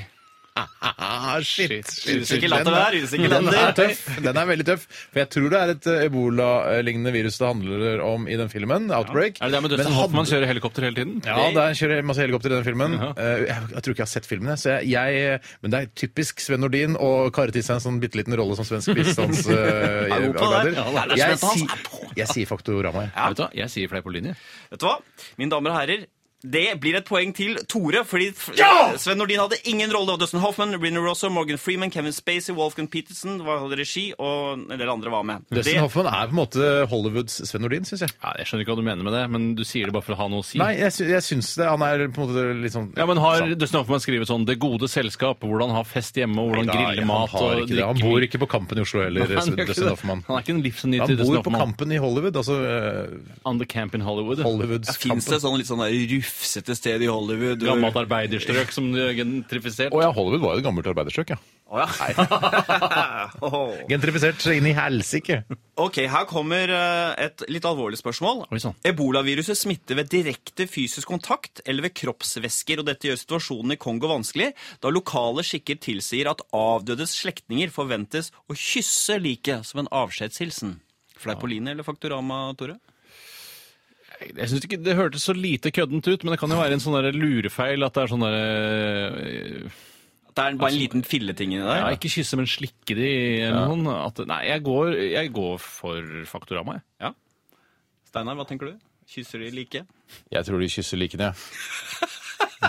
Ah, shit.
Usikker latter det der, usikker
Den er
latter.
tøff. Den er veldig tøff. For jeg tror det er et eh, Ebola-lignende virus det handler om i den filmen, Outbreak.
Er det det med Dustin
Men
Hoffman
hadde-
kjører helikopter hele tiden?
Ja, der kjører masse helikopter i den filmen. Eh, jeg, jeg tror ikke jeg har sett filmen, jeg, så jeg, jeg Men det er typisk Sven Nordin å karre til seg en sånn bitte liten rolle som svensk
god på
bistandsarbeider.
det. Ja, det er
jeg,
Sven Hans
si, jeg sier Faktorama, jeg.
Vet du hva, Jeg sier Fleipolini.
Vet du hva? Mine damer og herrer, Det blir et poeng til Tore, fordi f- Sven Nordin hadde ingen rolle. Det var Dustin Hoffman, Rina Rosso, Morgan Freeman, Kevin Spacey, Wolfgang Peterson var hadde regi, og en del andre var med.
Dustin Hoffman er på en måte Hollywoods Sven Nordin, syns jeg.
Ja, jeg skjønner ikke hva du mener med det, men du sier det bare for å ha noe å si.
Nei, jeg, sy jeg syns det. Han er på en måte litt sånn
Ja, men Har Dustin Hoffman skrevet sånn 'Det gode selskap', hvordan ha fest hjemme, og hvordan
Nei,
grille
han
mat
har
og
ikke det. Han bor ikke på Kampen i Oslo heller,
Han gjør ikke
Dustin
det.
Hoffman.
Han er ikke en livsnyter
Han
Dustin
bor på
Hoffman.
Kampen i Hollywood, altså eh,
On the camp in Hollywood.
Hollywoods
Fins
Kampen.
det sånn litt sånn der rufsete sted i Hollywood?
Gammelt arbeiderstrøk som du gentrifisert.
Å ja, Hollywood var jo et gammelt arbeiderstrøk, ja.
Å ja. Åh.
Gentrifisert inn i helsike.
Ok, her kommer eh, et litt alvorlig spørsmål.
Oi,
sånn.
sann.
Ebolaviruset smitter ved direkte fysisk kontakt eller ved kroppsvæsker, og dette gjør situasjonen i Kongo vanskelig, da lokale skikker tilsier at avdødes slektninger forventes å kysse liket som en avskjedshilsen. Fleipoline eller Faktorama, Tore?
Jeg synes ikke Det hørtes så lite køddent ut, men det kan jo være en sånn der lurefeil at det er sånn derre
Det er bare en liten filleting inni der.
Ja, ikke kysse, men slikke de eller noen. At, nei, jeg går, jeg går for Faktorama, jeg.
Steinar, hva tenker du? Kysser de liket?
Jeg tror de kysser likene, jeg.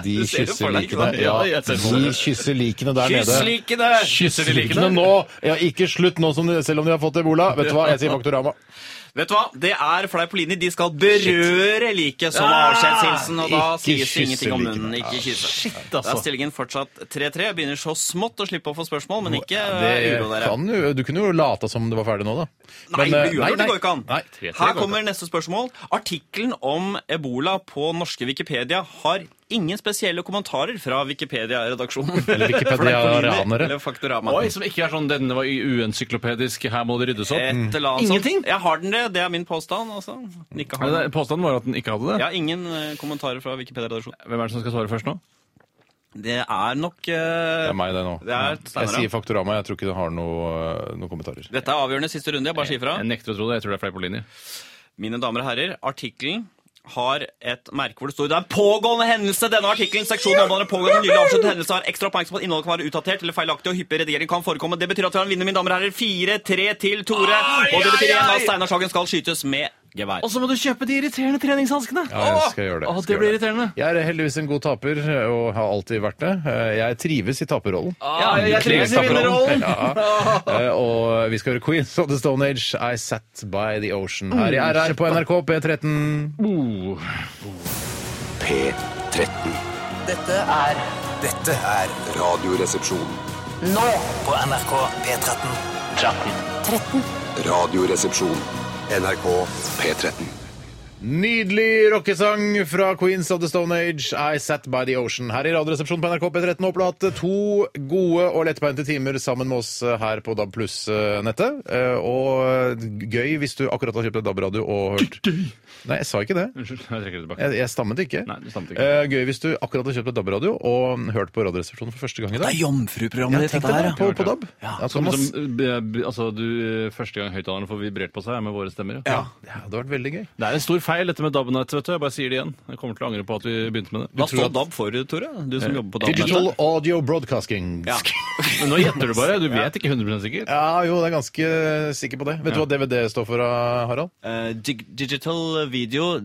De
Du ser det for
kysser
deg,
likene.
ikke sant?
Ja,
Ja, jeg ser det for meg.
de kysser likene der nede.
likene!
Kysser de likene nå! Ja, ikke slutt nå som de, selv om de har fått ebola. Vet du hva, jeg sier Faktorama.
Vet du hva? Det er Fleipolini. De skal berøre liket som avskjedshilsen, og da
Ah, Ikke
sies det ingenting om
kysse liket. Ah,
munnen. Ikke kysse.
Shit,
Da er
altså.
stillingen fortsatt 3-3. Jeg Begynner så smått å slippe å få spørsmål, men ikke
Det
uro dere.
kan jo, du kunne jo lata som det var ferdig nå, da.
Nei,
Men, eh,
det gjør det, det går ikke an.
Nei, tre,
Her
tre går ikke
kommer neste spørsmål. Artikkelen om ebola på norske Wikipedia har ingen spesielle kommentarer fra Wikipedia-redaksjonen.
Eller Wikipedianere.
Eller Faktorama.
Oi, som ikke er sånn 'denne var uencyklopedisk, her må det ryddes opp'.
Mm.
Et eller annet sånt. Jeg har den det. Det er min påstand, altså. Ikke har
Nei,
den.
det- Påstanden var at den ikke hadde det.
Jeg har ingen eh, kommentarer fra Wikipedia-redaksjonen.
Hvem er det som skal svare først nå?
Det er nok
Det
eh,
er meg, det nå.
Det er Steinar,
jeg
ja.
sier Faktorama. Jeg tror ikke det har noe, noen kommentarer.
Dette er avgjørende siste runde. Jeg bare sier fra.
Jeg nekter å tro det. Jeg tror det er Fleipolini.
Mine damer og herrer, artikkelen har et merke hvor det står det er en pågående hendelse. Denne artikkelen, seksjonen omhandler en pågående nylig avsluttet hendelse, har ekstra oppmerksomhet på at innholdet kan være utdatert eller feilaktig, og hyppig redigering kan forekomme. Det betyr at vi har en vinner, mine damer og herrer. 4-3 til Tore. Og det betyr igjen at Steinar Sagen skal skytes med gevær.
Og så må du kjøpe de irriterende treningshanskene!
Ja, jeg skal gjøre det.
Å,
Jeg skal
det
gjøre
blir
det.
irriterende.
Jeg er heldigvis en god taper, og har alltid vært det. Eh, Jeg trives i taperrollen.
Ah, Ja, jeg
trives i
vinnerrollen.
Ja. Eh, Og vi skal høre Queens of the Stone Age, I Sat By The Ocean, her i
Mm.
RR på NRK P13.
P13.
Dette er
Dette er
Radioresepsjon.
nå
på NRK P13.
Radioresepsjon. NRK P13.
Nydelig rockesang fra Queens of the Stone Age, I Sat By The Ocean, her i Radioresepsjonen på NRK P13. Håper du har hatt to gode og lettbeinte timer sammen med oss eh, her på DAB Pluss-nettet. Eh, Og gøy hvis du akkurat har kjøpt deg DAB-radio og hørt Nei, jeg sa ikke det.
Unnskyld, jeg trekker det tilbake.
Jeg, jeg stammet ikke.
Nei, du stammet ikke.
Eh, gøy hvis du akkurat har kjøpt deg DAB-radio og hørt på Radioresepsjonen for første gang i dag.
jomfruprogrammet
Ja, tenk deg det, på, på DAB. Ja,
Som,
Thomas.
som, eh, b- altså, du, eh, første gang høyttalerne får vibrert på seg, er med våre stemmer. Ja.
Det hadde vært veldig gøy.
Det er en stor feil, dette med DAB-nett. vet du. Jeg bare sier det igjen. Jeg kommer til å angre på at vi begynte med det.
Hva står DAB for, Tore? Du som jobber på DAB.
Eh, Digital Audio Broadcasting. Ja.
Men nå gjetter du bare. Du vet ikke 100 sikkert.
jo, det er ganske sikker på det. Vet du hva DVD står for, Harald?
Eh, dig digital video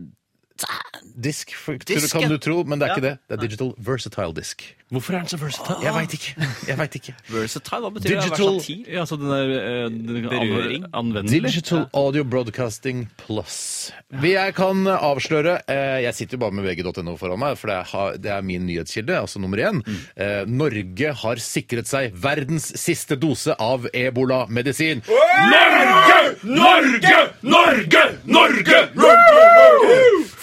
Disk, for,
Disk,
kan
ja.
du tro, men det er
Ja.
ikke det. Det er Digital Versatile Disk.
Hvorfor er den så versatile?
Jeg veit ikke. Jeg vet ikke.
versatile, hva betyr
Digital-
det? Versatil?
Ja, altså den der eh, den
Berøring.
anve- anvendelig.
Digital Audio Broadcasting Plus. Vi- Jeg kan avsløre eh, Jeg sitter jo bare med vg.no foran meg, for det er, ha- det er min nyhetskilde, altså nummer én. Eh, Norge har sikret seg verdens siste dose av ebolamedisin.
Norge! Norge! Norge!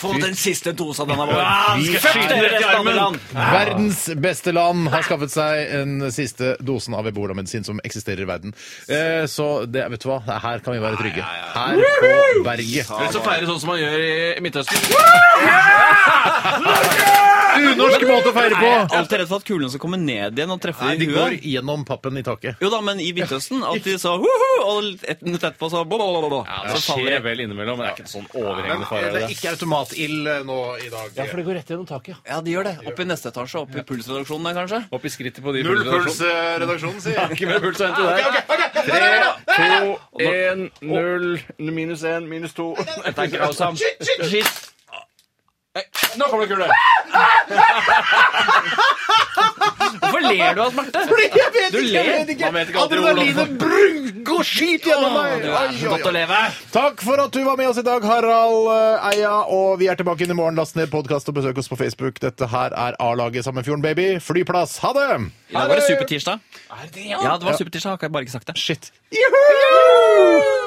Få den siste dosa den har vært.
Vi
Fuck
skyter
dere,
deg i
resten av
armen.
land.
Verdens beste land har skaffet seg den siste dosen av ebolamedisin som eksisterer i verden. Eh, Så det, vet du hva, her kan vi være trygge. Her på berget.
Eller så feire sånn som man gjør i Midtøsten.
Unorsk måte å feire
Jeg er
på!
alltid redd for at kulene skal komme ned igjen og treffe
Nei,
i
de går
huet.
gjennom pappen i taket.
Jo da, men i Midtøsten at de sa «Huhu», og et minutt etterpå så blablabla.
Ja, det
Så faller
skjer
de.
vel innimellom, men det er ikke en sånn overhengende fare.
Det er ikke automatild nå i dag.
det går rett gjennom taket.
Ja, de gjør det. Opp i neste etasje. Opp i pulsredaksjonen der, kanskje.
Opp i skrittet på de
Null
pulsene.
puls, eh, redaksjonen sier.
Ikke mer puls å hente der. To, én, null, minus én, minus to.
Dette er grusomt. Shit!
Nå kommer det kule! Hvorfor ler du av smerte?
Jeg vet
Du
ikke,
ler.
jeg vet ikke.
Man vet ikke alltid
Adrenalinet
hvordan-
brun- går skyt gjennom meg!
Det er
Oi,
så
oi,
godt å
oi.
leve.
Takk for at du var med oss i dag, Harald eh, Eia. Og vi er tilbake inn i morgen. Last ned podkast og besøk oss på Facebook. Dette her er A-laget sammen med Fjorden Baby. Flyplass. Ha det!
I dag var det supertirsdag. Ja, det var supertirsdag. Har jeg bare ikke sagt det.
Shit.
Dette